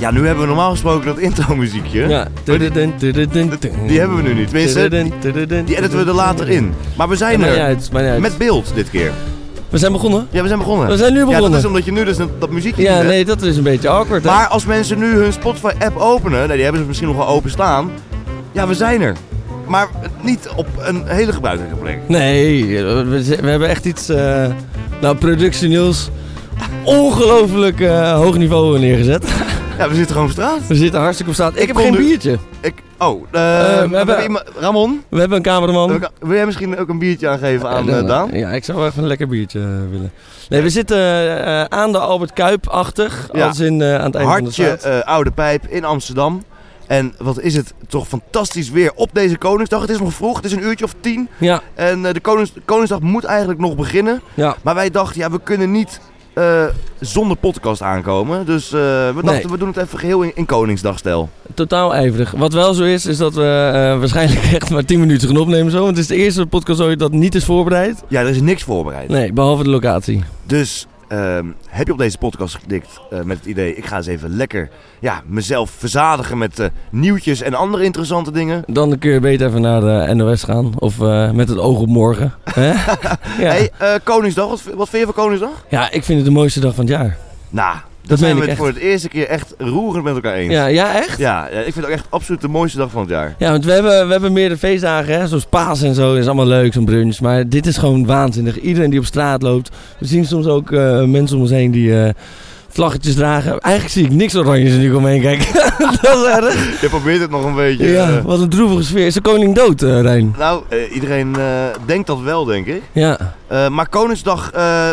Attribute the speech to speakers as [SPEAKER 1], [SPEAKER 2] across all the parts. [SPEAKER 1] Ja, nu hebben we normaal gesproken dat intro-muziekje.
[SPEAKER 2] Ja.
[SPEAKER 1] Maar die, die hebben we nu niet. Tenminste, die die editen we er later in. Maar we zijn
[SPEAKER 2] Maakt niet
[SPEAKER 1] er.
[SPEAKER 2] uit, maakt niet uit.
[SPEAKER 1] Met beeld dit keer.
[SPEAKER 2] We zijn begonnen.
[SPEAKER 1] Ja, we zijn begonnen.
[SPEAKER 2] We zijn nu
[SPEAKER 1] Ja, dat
[SPEAKER 2] begonnen.
[SPEAKER 1] is omdat je nu dus dat, dat muziekje niet
[SPEAKER 2] Ja,
[SPEAKER 1] hebt.
[SPEAKER 2] nee, dat is een beetje awkward. hè?
[SPEAKER 1] Maar als mensen nu hun Spotify-app openen, nou, die hebben ze misschien nog wel open staan. Ja, we zijn er. Maar niet op een hele gebruikelijke plek.
[SPEAKER 2] Nee, we, z- we hebben echt iets... eh nou, productioneels ongelooflijk eh, hoog niveau neergezet.
[SPEAKER 1] Ja, we zitten gewoon op straat.
[SPEAKER 2] We zitten hartstikke op straat. Ik heb
[SPEAKER 1] kon
[SPEAKER 2] geen
[SPEAKER 1] nu-
[SPEAKER 2] biertje.
[SPEAKER 1] Ik, oh, eh,
[SPEAKER 2] hebben-
[SPEAKER 1] hebben iemand- Ramon,
[SPEAKER 2] We hebben een cameraman.
[SPEAKER 1] wil jij misschien ook een biertje aangeven aan
[SPEAKER 2] Ja,
[SPEAKER 1] eh, Daan?
[SPEAKER 2] Ja, ik zou wel even een lekker biertje eh, willen. Nee, we zitten eh, aan de Albert Kuip-achtig.
[SPEAKER 1] Ja.
[SPEAKER 2] Als in eh, aan het einde van de
[SPEAKER 1] Hartje
[SPEAKER 2] straat.
[SPEAKER 1] eh, Oude Pijp in Amsterdam. En wat is het toch fantastisch weer op deze Koningsdag. Het is nog vroeg, het is een uurtje of tien.
[SPEAKER 2] Ja,
[SPEAKER 1] En eh, de Konings- Koningsdag moet eigenlijk nog beginnen.
[SPEAKER 2] ja.
[SPEAKER 1] Maar wij dachten, ja, we kunnen niet eh, zonder podcast aankomen. Dus eh, we dachten,
[SPEAKER 2] Nee.
[SPEAKER 1] we doen het even geheel in, in Koningsdagstijl.
[SPEAKER 2] Totaal ijverig. Wat wel zo is, is dat we eh, waarschijnlijk echt maar 10 minuten gaan opnemen zo. Want het is de eerste podcast ooit dat niet is voorbereid.
[SPEAKER 1] Ja, er is niks voorbereid.
[SPEAKER 2] Nee, behalve de locatie.
[SPEAKER 1] Dus ehm, heb je op deze podcast geklikt eh, met het idee... ik ga eens even lekker ja, mezelf verzadigen met eh, nieuwtjes en andere interessante dingen.
[SPEAKER 2] Dan kun je beter even naar de NOS gaan. Of eh, met het oog op morgen. Hè? ja.
[SPEAKER 1] hey, eh, Koningsdag, wat, wat vind je van Koningsdag?
[SPEAKER 2] ja, ik vind het de mooiste dag van het jaar.
[SPEAKER 1] Nou,
[SPEAKER 2] meen
[SPEAKER 1] dat zijn we
[SPEAKER 2] ik
[SPEAKER 1] het
[SPEAKER 2] echt.
[SPEAKER 1] voor het eerste keer echt roerend met elkaar eens.
[SPEAKER 2] Ja, ja echt?
[SPEAKER 1] Ja, ja, ik vind het ook echt absoluut de mooiste dag van het jaar.
[SPEAKER 2] Ja, want we hebben, we hebben meerdere feestdagen, hè? zoals paas en zo, is allemaal leuk, zo'n brunch. Maar dit is gewoon waanzinnig. Iedereen die op straat loopt. We zien soms ook eh, mensen om ons heen die eh, vlaggetjes dragen. Eigenlijk zie ik niks oranjes nu omheen kijken. dat is erg.
[SPEAKER 1] Je probeert het nog een beetje.
[SPEAKER 2] Ja,
[SPEAKER 1] eh,
[SPEAKER 2] wat een droevige sfeer. Is de koning dood, eh, Rijn?
[SPEAKER 1] nou, eh, iedereen eh, denkt dat wel, denk ik.
[SPEAKER 2] Ja.
[SPEAKER 1] Eh, maar Koningsdag eh,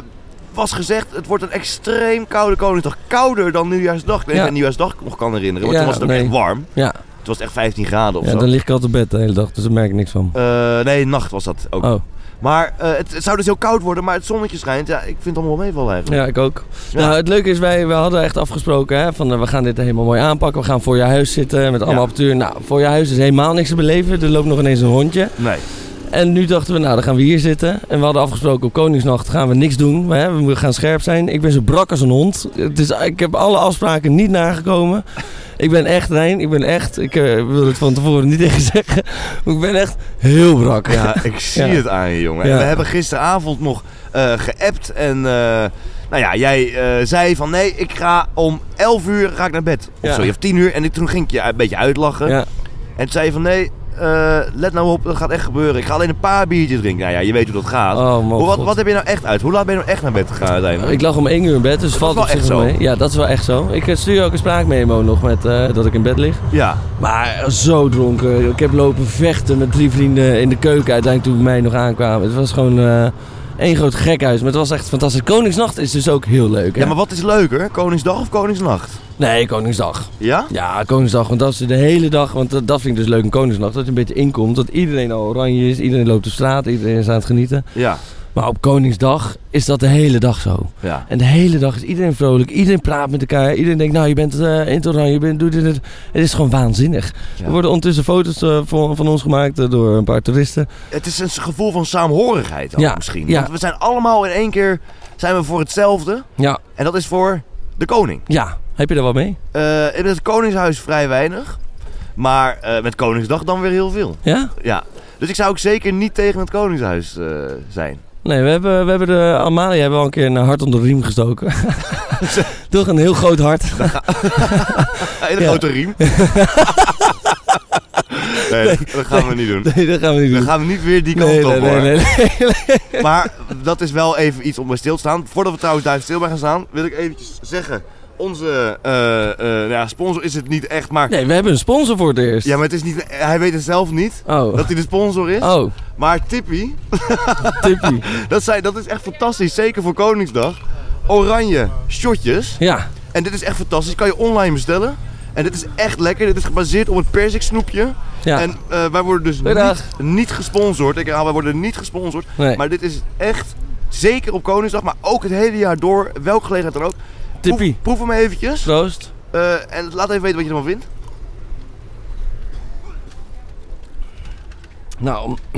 [SPEAKER 1] was gezegd, het wordt een extreem koude Koningsdag. Kouder dan Nieuwjaarsdag. Ik weet niet
[SPEAKER 2] Ja.
[SPEAKER 1] of ik Nieuwjaarsdag nog kan herinneren, want
[SPEAKER 2] Ja,
[SPEAKER 1] toen was het ook
[SPEAKER 2] nee.
[SPEAKER 1] echt warm.
[SPEAKER 2] Ja.
[SPEAKER 1] Toen was het echt 15 graden of
[SPEAKER 2] ja,
[SPEAKER 1] zo.
[SPEAKER 2] dan lig ik al te bed de hele dag, dus daar merk ik niks van.
[SPEAKER 1] Eh, nee, nacht was dat ook.
[SPEAKER 2] Oh,
[SPEAKER 1] Maar eh, het, het zou dus heel koud worden, maar het zonnetje schijnt. Ja, ik vind het allemaal wel meevallen eigenlijk.
[SPEAKER 2] ja, ik ook.
[SPEAKER 1] Ja.
[SPEAKER 2] Nou, het leuke is, wij we hadden echt afgesproken hè, van eh, we gaan dit helemaal mooi aanpakken. We gaan voor je huis zitten met allemaal
[SPEAKER 1] Ja.
[SPEAKER 2] apparatuur. Nou, voor je huis is helemaal niks te beleven. Er loopt nog ineens een hondje.
[SPEAKER 1] Nee.
[SPEAKER 2] En nu dachten we, nou dan gaan we hier zitten. En we hadden afgesproken op Koningsnacht gaan we niks doen. Hè? We gaan scherp zijn. Ik ben zo brak als een hond. Het is, ik heb alle afspraken niet nagekomen. Ik ben echt, Rijn, ik ben echt, ik eh, wil het van tevoren niet tegen zeggen. Maar ik ben echt heel brak.
[SPEAKER 1] Ja, ik zie
[SPEAKER 2] Ja.
[SPEAKER 1] het aan je, jongen.
[SPEAKER 2] Ja.
[SPEAKER 1] En we hebben gisteravond nog eh, geappt en... eh, nou ja, jij eh, zei van nee, ik ga om 11 uur ga ik naar bed. Of
[SPEAKER 2] Ja.
[SPEAKER 1] zo, of 10 uur. En ik, toen ging ik je een beetje uitlachen.
[SPEAKER 2] Ja,
[SPEAKER 1] En toen zei je van nee, eh, let nou op, dat gaat echt gebeuren. Ik ga alleen een paar biertjes drinken. Nou ja, je weet hoe dat gaat.
[SPEAKER 2] Oh, man,
[SPEAKER 1] Hoe- wat,
[SPEAKER 2] God.
[SPEAKER 1] wat heb je nou echt uit? Hoe laat ben je nou echt naar bed gegaan uiteindelijk?
[SPEAKER 2] ik lag om één uur in bed, dus valt
[SPEAKER 1] wel
[SPEAKER 2] op zich
[SPEAKER 1] echt
[SPEAKER 2] wel
[SPEAKER 1] zo.
[SPEAKER 2] mee. Ja, dat is wel echt zo. Ik eh, stuur ook een spraakmemo nog met eh, dat ik in bed lig.
[SPEAKER 1] Ja,
[SPEAKER 2] Maar zo dronken. Ik heb lopen vechten met drie vrienden in de keuken uiteindelijk toen bij mij nog aankwamen. Het was gewoon eh één groot gekhuis. Maar het was echt fantastisch. Koningsnacht is dus ook heel leuk. Hè?
[SPEAKER 1] ja, maar wat is leuker? Koningsdag of Koningsnacht?
[SPEAKER 2] Nee, Koningsdag.
[SPEAKER 1] Ja?
[SPEAKER 2] Ja, Koningsdag. Want dat is de hele dag. Want dat, dat vind ik dus leuk in Koningsnacht. Dat je een beetje inkomt. Dat iedereen al oranje is. Iedereen loopt op straat. Iedereen is aan het genieten.
[SPEAKER 1] Ja.
[SPEAKER 2] Maar op Koningsdag is dat de hele dag zo.
[SPEAKER 1] Ja.
[SPEAKER 2] En de hele dag is iedereen vrolijk. Iedereen praat met elkaar. Iedereen denkt, nou, je bent eh, in het oranje, je bent, doet dit, dit. Het is gewoon waanzinnig.
[SPEAKER 1] Ja.
[SPEAKER 2] Er worden ondertussen foto's eh, van, van ons gemaakt eh, door een paar toeristen.
[SPEAKER 1] Het is een gevoel van saamhorigheid ook
[SPEAKER 2] Ja,
[SPEAKER 1] misschien.
[SPEAKER 2] ja.
[SPEAKER 1] Want we zijn allemaal in één keer zijn we voor hetzelfde.
[SPEAKER 2] Ja,
[SPEAKER 1] En dat is voor de koning.
[SPEAKER 2] ja. Heb je daar wat mee?
[SPEAKER 1] Eh, in het koningshuis vrij weinig. Maar eh, met Koningsdag dan weer heel veel.
[SPEAKER 2] Ja?
[SPEAKER 1] Ja. Dus ik zou ook zeker niet tegen het koningshuis eh, zijn.
[SPEAKER 2] Nee, we hebben, we hebben de Amalia hebben al een keer een hart onder de riem gestoken. Toch een heel groot hart.
[SPEAKER 1] In de
[SPEAKER 2] Ja.
[SPEAKER 1] grote riem. nee, dat gaan we niet doen.
[SPEAKER 2] Nee, dat gaan we niet
[SPEAKER 1] Dan
[SPEAKER 2] doen.
[SPEAKER 1] gaan we niet weer die kant
[SPEAKER 2] Nee,
[SPEAKER 1] op
[SPEAKER 2] nee,
[SPEAKER 1] hoor.
[SPEAKER 2] nee, nee.
[SPEAKER 1] Maar dat is wel even iets om bij stil te staan. Voordat we trouwens daar stil bij gaan staan, wil ik eventjes zeggen. Onze eh, eh, nou ja, sponsor is het niet echt, maar...
[SPEAKER 2] Nee, we hebben een sponsor voor het eerst.
[SPEAKER 1] Ja, maar het is niet, hij weet het zelf niet
[SPEAKER 2] Oh.
[SPEAKER 1] dat hij de sponsor is.
[SPEAKER 2] Oh,
[SPEAKER 1] Maar Tippy,
[SPEAKER 2] tippie.
[SPEAKER 1] dat, zijn, dat is echt fantastisch. Zeker voor Koningsdag. Oranje shotjes.
[SPEAKER 2] Ja,
[SPEAKER 1] En dit is echt fantastisch. Kan je online bestellen. En dit is echt lekker. Dit is gebaseerd op het persiksnoepje.
[SPEAKER 2] ja.
[SPEAKER 1] En eh, wij worden dus
[SPEAKER 2] Goedendag.
[SPEAKER 1] niet, niet gesponsord. Ik herhaal, wij worden niet gesponsord.
[SPEAKER 2] nee.
[SPEAKER 1] Maar dit is echt, zeker op Koningsdag, maar ook het hele jaar door, welke gelegenheid dan ook.
[SPEAKER 2] Tippie.
[SPEAKER 1] Proef, proef hem eventjes.
[SPEAKER 2] Troost.
[SPEAKER 1] Eh, en laat even weten wat je ervan vindt.
[SPEAKER 2] Nou,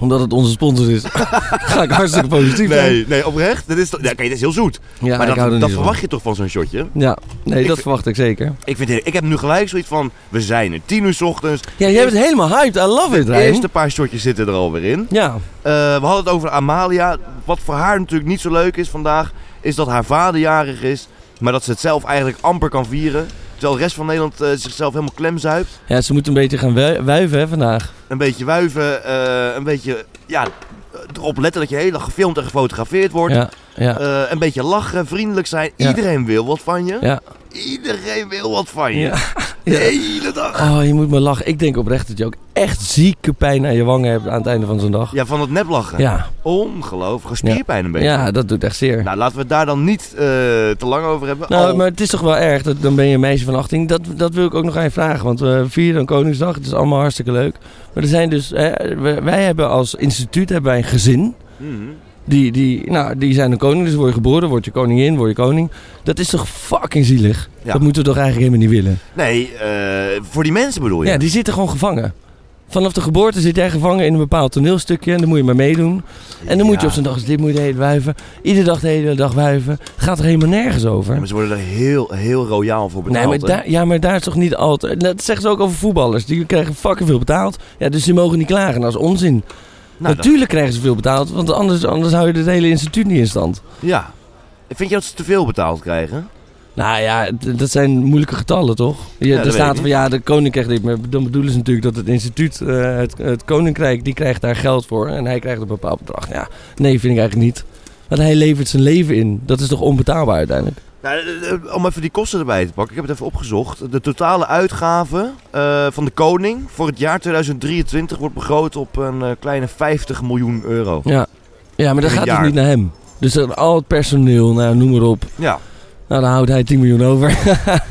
[SPEAKER 2] Omdat het onze sponsor is. Ga ik hartstikke positief zijn.
[SPEAKER 1] Nee, nee, oprecht. Dat is, toch- ja, oké, dat is heel zoet.
[SPEAKER 2] Ja,
[SPEAKER 1] maar
[SPEAKER 2] ik hou
[SPEAKER 1] dat,
[SPEAKER 2] er
[SPEAKER 1] dat
[SPEAKER 2] niet van.
[SPEAKER 1] verwacht je toch van zo'n shotje?
[SPEAKER 2] Ja, nee,
[SPEAKER 1] Ik
[SPEAKER 2] dat
[SPEAKER 1] vind-
[SPEAKER 2] verwacht ik zeker.
[SPEAKER 1] Ik, vind het, ik heb nu gelijk zoiets van, we zijn er. Tien uur 's ochtends.
[SPEAKER 2] Ja, jij bent helemaal hyped. I love it,
[SPEAKER 1] De
[SPEAKER 2] Rijn.
[SPEAKER 1] eerste paar shotjes zitten er alweer in.
[SPEAKER 2] Ja,
[SPEAKER 1] Eh, we hadden het over Amalia. Wat voor haar natuurlijk niet zo leuk is vandaag, is dat haar vader jarig is. Maar dat ze het zelf eigenlijk amper kan vieren. Terwijl de rest van Nederland eh, zichzelf helemaal klemzuipt.
[SPEAKER 2] ja, ze moeten een beetje gaan wui- wuiven hè, vandaag.
[SPEAKER 1] Een beetje wuiven, eh, een beetje ja, erop letten dat je de hele dag gefilmd en gefotografeerd wordt.
[SPEAKER 2] Ja, ja,
[SPEAKER 1] Eh, een beetje lachen, vriendelijk zijn.
[SPEAKER 2] Ja.
[SPEAKER 1] Iedereen wil wat van je.
[SPEAKER 2] ja.
[SPEAKER 1] Iedereen wil wat van je.
[SPEAKER 2] Eh, ja.
[SPEAKER 1] De hele dag.
[SPEAKER 2] Oh, je moet me lachen. Ik denk oprecht dat je ook echt zieke pijn aan je wangen hebt aan het einde van zo'n dag.
[SPEAKER 1] Ja, van het neplachen.
[SPEAKER 2] Ja,
[SPEAKER 1] Ongelooflijk. Spierpijn een beetje.
[SPEAKER 2] ja dat doet echt zeer.
[SPEAKER 1] Nou, laten we het daar dan niet eh, te lang over hebben. Oh.
[SPEAKER 2] Nou,
[SPEAKER 1] Al-
[SPEAKER 2] maar het is toch wel erg, dat, dan ben je een meisje van 18. Dat, dat wil ik ook nog aan je vragen, want we vieren dan Koningsdag. Het is allemaal hartstikke leuk. Maar er zijn dus, hè, we- wij hebben als instituut hebben wij een gezin.
[SPEAKER 1] Mhm.
[SPEAKER 2] Die, die, nou, die zijn een koning, dus word je geboren, word je koningin, word je koning. Dat is toch fucking zielig?
[SPEAKER 1] Ja.
[SPEAKER 2] Dat moeten we toch eigenlijk helemaal niet willen?
[SPEAKER 1] Nee, eh, voor die mensen bedoel je?
[SPEAKER 2] Ja, die zitten gewoon gevangen. Vanaf de geboorte zit jij gevangen in een bepaald toneelstukje en dan moet je maar meedoen. En dan moet je
[SPEAKER 1] Ja.
[SPEAKER 2] op zo'n dag eens dit moet je de hele dag wuiven. Iedere dag de hele dag wuiven. Het gaat er helemaal nergens over.
[SPEAKER 1] Ja, maar ze worden er heel, heel royaal voor betaald.
[SPEAKER 2] Nee, maar
[SPEAKER 1] hè?
[SPEAKER 2] daar, ja, maar daar is toch niet altijd... Dat zeggen ze ook over voetballers. Die krijgen fucking veel betaald. Ja, dus die mogen niet klagen. Dat is onzin.
[SPEAKER 1] Nou, dat-
[SPEAKER 2] Natuurlijk krijgen ze veel betaald, want anders, anders hou je het hele instituut niet in stand.
[SPEAKER 1] ja. Vind je dat ze te veel betaald krijgen?
[SPEAKER 2] Nou ja, d- dat zijn moeilijke getallen, toch? Je,
[SPEAKER 1] dat
[SPEAKER 2] er
[SPEAKER 1] weet ik
[SPEAKER 2] staat van,
[SPEAKER 1] niet.
[SPEAKER 2] ja, de koning krijgt dit. Maar dan bedoelen ze natuurlijk dat het instituut, eh, het, het koninkrijk, die krijgt daar geld voor. En hij krijgt een bepaald bedrag. Ja, nee, vind ik eigenlijk niet. Want hij levert zijn leven in. Dat is toch onbetaalbaar uiteindelijk?
[SPEAKER 1] Nou, eh, eh, om even die kosten erbij te pakken. Ik heb het even opgezocht. De totale uitgaven eh, van de koning voor het jaar 2023 wordt begroot op een eh, kleine 50 miljoen euro.
[SPEAKER 2] Ja, ja maar dat
[SPEAKER 1] Een
[SPEAKER 2] gaat dus
[SPEAKER 1] jaar.
[SPEAKER 2] niet naar hem. Dus dan al het personeel, nou, noem maar op.
[SPEAKER 1] Ja,
[SPEAKER 2] Nou, dan houdt hij 10 miljoen over.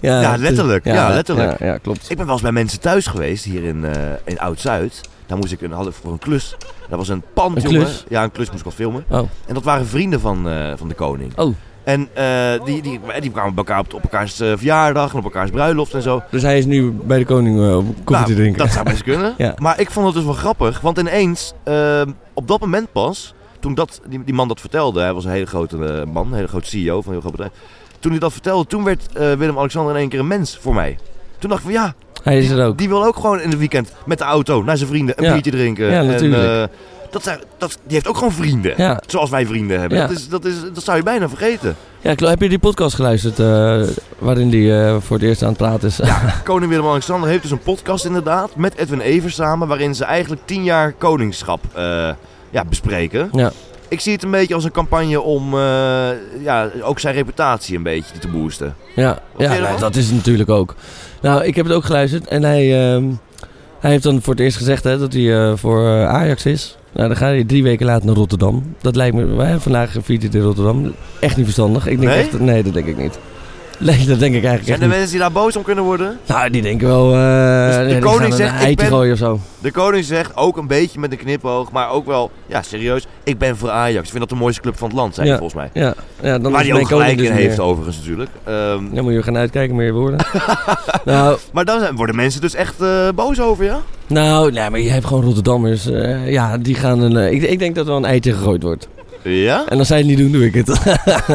[SPEAKER 2] ja,
[SPEAKER 1] ja
[SPEAKER 2] het is-
[SPEAKER 1] letterlijk. Ja, letterlijk.
[SPEAKER 2] Ja, ja, klopt.
[SPEAKER 1] Ik ben wel eens bij mensen thuis geweest hier in, eh, in Oud-Zuid. Daar moest ik een, had ik voor een klus. Dat was een pand,
[SPEAKER 2] Een
[SPEAKER 1] jongen.
[SPEAKER 2] klus?
[SPEAKER 1] Ja, een klus moest ik wel filmen.
[SPEAKER 2] Oh.
[SPEAKER 1] En dat waren vrienden van, eh, van de koning.
[SPEAKER 2] Oh.
[SPEAKER 1] En eh, die, die, die kwamen bij elkaar op, op elkaars eh, verjaardag en op elkaars bruiloft en zo.
[SPEAKER 2] Dus hij is nu bij de koning eh, op koffie
[SPEAKER 1] Nou,
[SPEAKER 2] te drinken.
[SPEAKER 1] Dat zou best kunnen.
[SPEAKER 2] Ja.
[SPEAKER 1] Maar ik vond het dus wel grappig, want ineens, eh, op dat moment pas, toen dat, die, die man dat vertelde, hij was een hele grote eh, man, een hele grote CEO van een heel groot bedrijf. Toen hij dat vertelde, toen werd eh, Willem-Alexander in één keer een mens voor mij. Toen dacht ik van ja,
[SPEAKER 2] Hij is
[SPEAKER 1] die,
[SPEAKER 2] er ook.
[SPEAKER 1] die wil ook gewoon in het weekend met de auto naar zijn vrienden een
[SPEAKER 2] Ja.
[SPEAKER 1] biertje drinken.
[SPEAKER 2] Ja, natuurlijk.
[SPEAKER 1] En, eh, dat zijn, dat, die heeft ook gewoon vrienden.
[SPEAKER 2] Ja,
[SPEAKER 1] Zoals wij vrienden hebben.
[SPEAKER 2] Ja.
[SPEAKER 1] Dat, is, dat, is, dat zou je bijna vergeten.
[SPEAKER 2] ja Klo, heb je die podcast geluisterd eh, waarin die eh, voor het eerst aan het praten is? Ja,
[SPEAKER 1] Koning Willem-Alexander heeft dus een podcast inderdaad met Edwin Evers samen, waarin ze eigenlijk tien jaar koningschap eh, ja, bespreken.
[SPEAKER 2] Ja.
[SPEAKER 1] Ik zie het een beetje als een campagne om eh, ja, ook zijn reputatie een beetje te boosten.
[SPEAKER 2] ja,
[SPEAKER 1] vind je
[SPEAKER 2] nou,
[SPEAKER 1] ervan?
[SPEAKER 2] dat is het natuurlijk ook. Nou, ik heb het ook geluisterd en hij, ehm, hij heeft dan voor het eerst gezegd hè, dat hij eh, voor eh, Ajax is. Nou, dan ga je drie weken later naar Rotterdam. Dat lijkt me, wij hebben vandaag gevierd in Rotterdam. Echt niet verstandig. Ik denk
[SPEAKER 1] Nee?
[SPEAKER 2] Echt, nee, dat denk ik niet. Nee, dat denk ik eigenlijk
[SPEAKER 1] Zijn
[SPEAKER 2] echt
[SPEAKER 1] er
[SPEAKER 2] niet.
[SPEAKER 1] mensen die daar boos om kunnen worden?
[SPEAKER 2] Nou, die denken wel...
[SPEAKER 1] Dus
[SPEAKER 2] eh
[SPEAKER 1] de
[SPEAKER 2] ja, die
[SPEAKER 1] koning
[SPEAKER 2] gaan
[SPEAKER 1] zegt,
[SPEAKER 2] een
[SPEAKER 1] ik
[SPEAKER 2] eitje
[SPEAKER 1] ben-
[SPEAKER 2] gooien of zo.
[SPEAKER 1] De koning zegt ook een beetje met een knipoog, maar ook wel, ja serieus, ik ben voor Ajax. Ik vind dat de mooiste club van het land, zei hij
[SPEAKER 2] Ja.
[SPEAKER 1] volgens mij.
[SPEAKER 2] Ja, ja dan
[SPEAKER 1] Waar
[SPEAKER 2] is
[SPEAKER 1] hij
[SPEAKER 2] mijn
[SPEAKER 1] ook
[SPEAKER 2] koning
[SPEAKER 1] gelijk
[SPEAKER 2] dus
[SPEAKER 1] in
[SPEAKER 2] niet
[SPEAKER 1] heeft
[SPEAKER 2] meer.
[SPEAKER 1] overigens natuurlijk. Ehm,
[SPEAKER 2] Dan moet je gaan uitkijken met je woorden. nou,
[SPEAKER 1] Maar dan zijn- worden mensen dus echt eh, boos over, ja?
[SPEAKER 2] nou, nee, maar je hebt gewoon Rotterdammers. eh, ja, die gaan een... eh, ik, ik denk dat er wel een eitje gegooid wordt.
[SPEAKER 1] Ja?
[SPEAKER 2] En als zij het niet doen, doe ik het.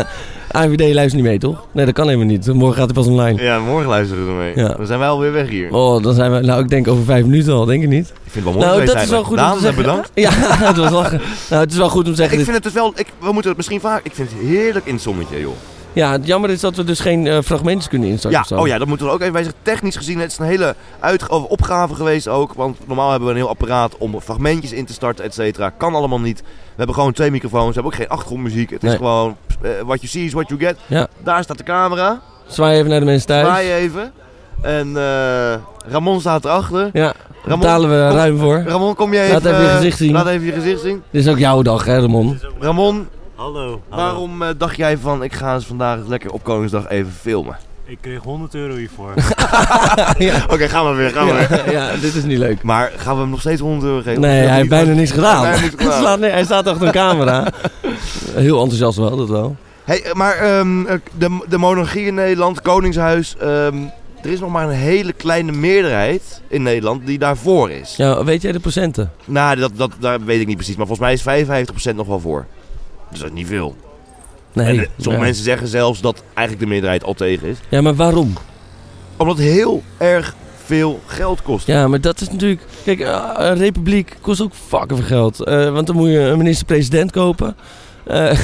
[SPEAKER 2] AVD luistert niet mee, toch? Nee, dat kan helemaal niet. Morgen gaat hij pas online.
[SPEAKER 1] Ja, morgen luisteren we ermee.
[SPEAKER 2] Ja.
[SPEAKER 1] Dan zijn wij alweer weg hier.
[SPEAKER 2] Oh, dan zijn we... Nou, ik denk over vijf minuten al, denk ik niet.
[SPEAKER 1] Ik vind het wel mooi
[SPEAKER 2] Nou,
[SPEAKER 1] geweest
[SPEAKER 2] dat is wel
[SPEAKER 1] eigenlijk.
[SPEAKER 2] goed
[SPEAKER 1] Daan,
[SPEAKER 2] om te zeggen.
[SPEAKER 1] bedankt.
[SPEAKER 2] Ja, het was lachen. Nou, het is wel goed om te zeggen...
[SPEAKER 1] Ik
[SPEAKER 2] dit-
[SPEAKER 1] vind het dus wel, ik, we moeten het misschien vaak, ik vind het heerlijk in het zonnetje, joh.
[SPEAKER 2] Ja, het jammer is dat we dus geen eh, fragmentjes kunnen
[SPEAKER 1] Ja,
[SPEAKER 2] instarten. of zo.
[SPEAKER 1] oh ja, dat moeten we er ook even bij zeggen. Technisch gezien, het is een hele uitge- of opgave geweest ook. Want normaal hebben we een heel apparaat om fragmentjes in te starten, et cetera. Kan allemaal niet. We hebben gewoon twee microfoons, we hebben ook geen achtergrondmuziek. Het is
[SPEAKER 2] Nee.
[SPEAKER 1] gewoon, eh, what you see is what you get.
[SPEAKER 2] Ja.
[SPEAKER 1] Daar staat de camera,
[SPEAKER 2] Zwaai even naar de mensen thuis.
[SPEAKER 1] draai even. En eh, Ramon staat erachter.
[SPEAKER 2] Ja, daar
[SPEAKER 1] Ramon-
[SPEAKER 2] betalen we ruim voor.
[SPEAKER 1] Ramon, kom je even...
[SPEAKER 2] Laat even je gezicht zien.
[SPEAKER 1] Laat even je gezicht zien.
[SPEAKER 2] Dit is ook jouw dag, hè, Ramon?
[SPEAKER 1] Ramon,
[SPEAKER 3] Hallo.
[SPEAKER 1] waarom eh, dacht jij van, ik ga eens vandaag lekker op Koningsdag even filmen?
[SPEAKER 3] Ik kreeg 100 euro hiervoor.
[SPEAKER 1] Oké, gaan we weer, gaan we weer.
[SPEAKER 2] Ja, ja, dit is niet leuk.
[SPEAKER 1] Maar gaan we hem nog steeds 100 euro geven?
[SPEAKER 2] Nee, hij heeft bijna niks gedaan.
[SPEAKER 1] Hij heeft niks
[SPEAKER 2] Hij
[SPEAKER 1] gedaan.
[SPEAKER 2] slaat neer, hij staat achter een camera. Heel enthousiast wel, dat wel.
[SPEAKER 1] Hey, maar ehm, de, de monarchie in Nederland, Koningshuis, ehm, Er is nog maar een hele kleine meerderheid in Nederland die daarvoor is.
[SPEAKER 2] Ja, weet jij de procenten?
[SPEAKER 1] Nou, dat, dat, daar weet ik niet precies. Maar volgens mij is 55% nog wel voor. Dus dat is niet veel.
[SPEAKER 2] Nee.
[SPEAKER 1] En, eh, sommige
[SPEAKER 2] ja.
[SPEAKER 1] mensen zeggen zelfs dat eigenlijk de meerderheid al tegen is.
[SPEAKER 2] ja, maar waarom?
[SPEAKER 1] Omdat het heel erg veel geld kost.
[SPEAKER 2] Ja, maar dat is natuurlijk... Kijk, eh, een republiek kost ook fucking veel geld. Eh, want dan moet je een minister-president kopen. Eh,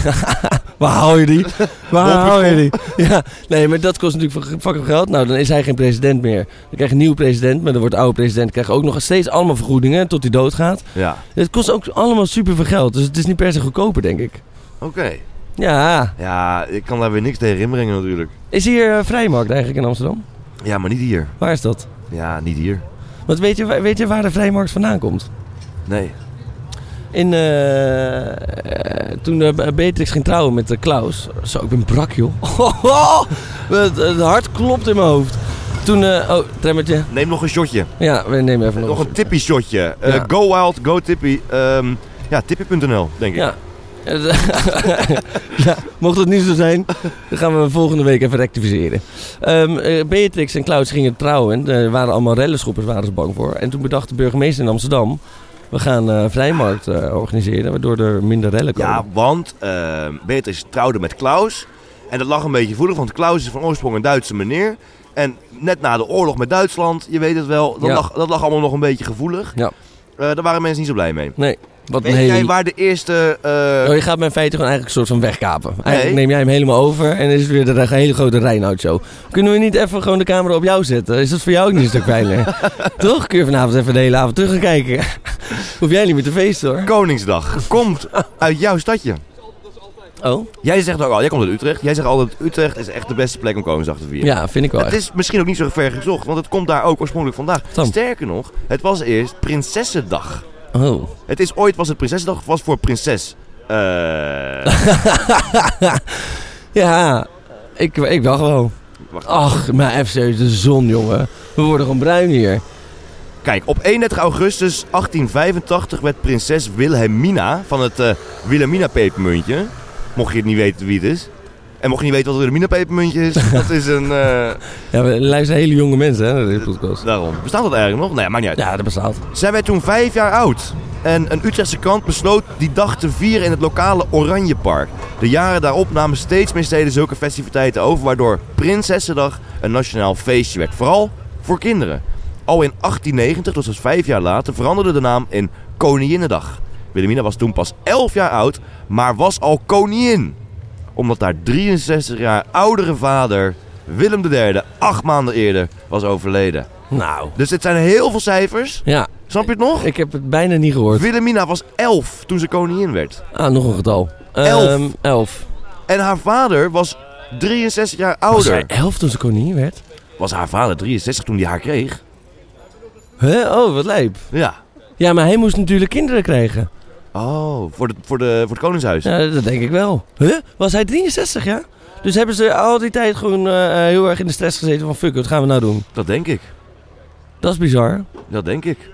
[SPEAKER 2] waar haal je die? Waar haal je die? Ja, nee, maar dat kost natuurlijk fucking fucking veel geld. Nou, dan is hij geen president meer. Dan krijg je een nieuwe president, maar dan wordt de oude president... krijgt ook nog steeds allemaal vergoedingen tot hij doodgaat.
[SPEAKER 1] Ja.
[SPEAKER 2] Het kost ook allemaal super veel geld. Dus het is niet per se goedkoper, denk ik.
[SPEAKER 1] Oké.
[SPEAKER 2] Ja,
[SPEAKER 1] Ja, ik kan daar weer niks tegen inbrengen natuurlijk.
[SPEAKER 2] is hier eh, vrijmarkt eigenlijk in Amsterdam?
[SPEAKER 1] Ja, maar niet hier.
[SPEAKER 2] Waar is dat?
[SPEAKER 1] Ja, niet hier.
[SPEAKER 2] Want weet je, weet je waar de vrijmarkt vandaan komt?
[SPEAKER 1] Nee.
[SPEAKER 2] In, eh, eh, toen eh, Beatrix ging trouwen met eh, Klaus. Zo, ik ben brak, joh. het, het hart klopt in mijn hoofd. Toen, eh, oh, tremmertje.
[SPEAKER 1] Neem nog een shotje.
[SPEAKER 2] Ja, we nemen even
[SPEAKER 1] Nog een
[SPEAKER 2] shot.
[SPEAKER 1] tippie shotje. Eh,
[SPEAKER 2] Ja.
[SPEAKER 1] Go wild, go tippie. Ehm, ja, tippie.nl, denk ik.
[SPEAKER 2] Ja. ja, mocht dat niet zo zijn, dan gaan we volgende week even rectificeren. Ehm, eh, Beatrix en Klaus gingen trouwen. en Er waren allemaal rellenschoppers, waren ze bang voor. En toen bedacht de burgemeester in Amsterdam... we gaan eh, vrijmarkt eh, organiseren, waardoor er minder rellen komen.
[SPEAKER 1] Ja, want ehm Beatrice trouwde met Klaus. En dat lag een beetje voelig, want Klaus is van oorsprong een Duitse meneer. En net na de oorlog met Duitsland, je weet het wel, dat,
[SPEAKER 2] Ja.
[SPEAKER 1] lag, dat lag allemaal nog een beetje gevoelig.
[SPEAKER 2] Ja.
[SPEAKER 1] Eh, daar waren mensen niet zo blij mee.
[SPEAKER 2] Wat
[SPEAKER 1] Weet
[SPEAKER 2] een hele-
[SPEAKER 1] jij waar de eerste... eh,
[SPEAKER 2] Oh, je gaat mijn feiten gewoon eigenlijk een soort van wegkapen. Eigenlijk
[SPEAKER 1] Nee.
[SPEAKER 2] neem jij hem helemaal over en is het weer de re- hele grote Reinoud show. Kunnen we niet even gewoon de camera op jou zetten? Is dat voor jou ook niet een stuk pijnlijk? Toch? Kun je vanavond even de hele avond terug gaan kijken? Hoef jij niet meer te feesten hoor.
[SPEAKER 1] Koningsdag komt uit jouw stadje.
[SPEAKER 2] Oh?
[SPEAKER 1] Jij zegt ook al, jij komt uit Utrecht. Jij zegt altijd, Utrecht is echt de beste plek om Koningsdag te vieren.
[SPEAKER 2] Ja, vind ik wel
[SPEAKER 1] Het
[SPEAKER 2] echt.
[SPEAKER 1] is misschien ook niet zo ver gezocht, want het komt daar ook oorspronkelijk vandaan.
[SPEAKER 2] Tom.
[SPEAKER 1] Sterker nog, het was eerst Prinsessendag.
[SPEAKER 2] Oh.
[SPEAKER 1] Het is ooit was het Prinsessendag, was voor prinses. Eh,
[SPEAKER 2] ja, ik, ik wacht wel.
[SPEAKER 1] Wacht.
[SPEAKER 2] Ach, mijn FC is de zon, jongen. We worden gewoon bruin hier.
[SPEAKER 1] Kijk, op 31 augustus 1885 werd prinses Wilhelmina van het eh Wilhelmina pepermuntje. Mocht je het niet weten wie het is. En mocht je niet weten wat een Wilhelmina pepermuntje is, dat is een... eh,
[SPEAKER 2] Ja, we luisteren hele jonge mensen hè, naar deze podcast.
[SPEAKER 1] daarom. Bestaat dat eigenlijk nog? Nee, maakt niet uit.
[SPEAKER 2] Ja, dat bestaat.
[SPEAKER 1] Zij werd toen vijf jaar oud. En een Utrechtse krant besloot die dag te vieren in het lokale Oranjepark. De jaren daarop namen steeds meer steden zulke festiviteiten over, waardoor Prinsessendag een nationaal feestje werd. Vooral voor kinderen. Al in 1890, dus dat is vijf jaar later, veranderde de naam in Koninginnedag. Wilhelmina was toen pas elf jaar oud, maar was al koningin. Omdat haar 63 jaar oudere vader, Willem III, acht maanden eerder was overleden.
[SPEAKER 2] Nou.
[SPEAKER 1] Dus dit zijn heel veel cijfers.
[SPEAKER 2] Ja,
[SPEAKER 1] Snap je het nog?
[SPEAKER 2] ik heb het bijna niet gehoord.
[SPEAKER 1] Wilhelmina was 11 toen ze koningin werd.
[SPEAKER 2] Ah, nog een getal.
[SPEAKER 1] Elf.
[SPEAKER 2] Ehm, elf.
[SPEAKER 1] En haar vader was 63 jaar
[SPEAKER 2] Was
[SPEAKER 1] ouder.
[SPEAKER 2] zij elf toen ze koningin werd?
[SPEAKER 1] Was haar vader 63 toen hij haar kreeg?
[SPEAKER 2] Huh? Oh, wat lijp.
[SPEAKER 1] Ja.
[SPEAKER 2] Ja, maar hij moest natuurlijk kinderen krijgen.
[SPEAKER 1] Oh, voor, de, voor, de, voor het koningshuis.
[SPEAKER 2] Ja, dat denk ik wel. Huh? Was hij 63, ja? Dus hebben ze al die tijd gewoon eh, eh, heel erg in de stress gezeten van... Fuck, wat gaan we nou doen?
[SPEAKER 1] Dat denk ik.
[SPEAKER 2] Dat is bizar.
[SPEAKER 1] Dat denk ik.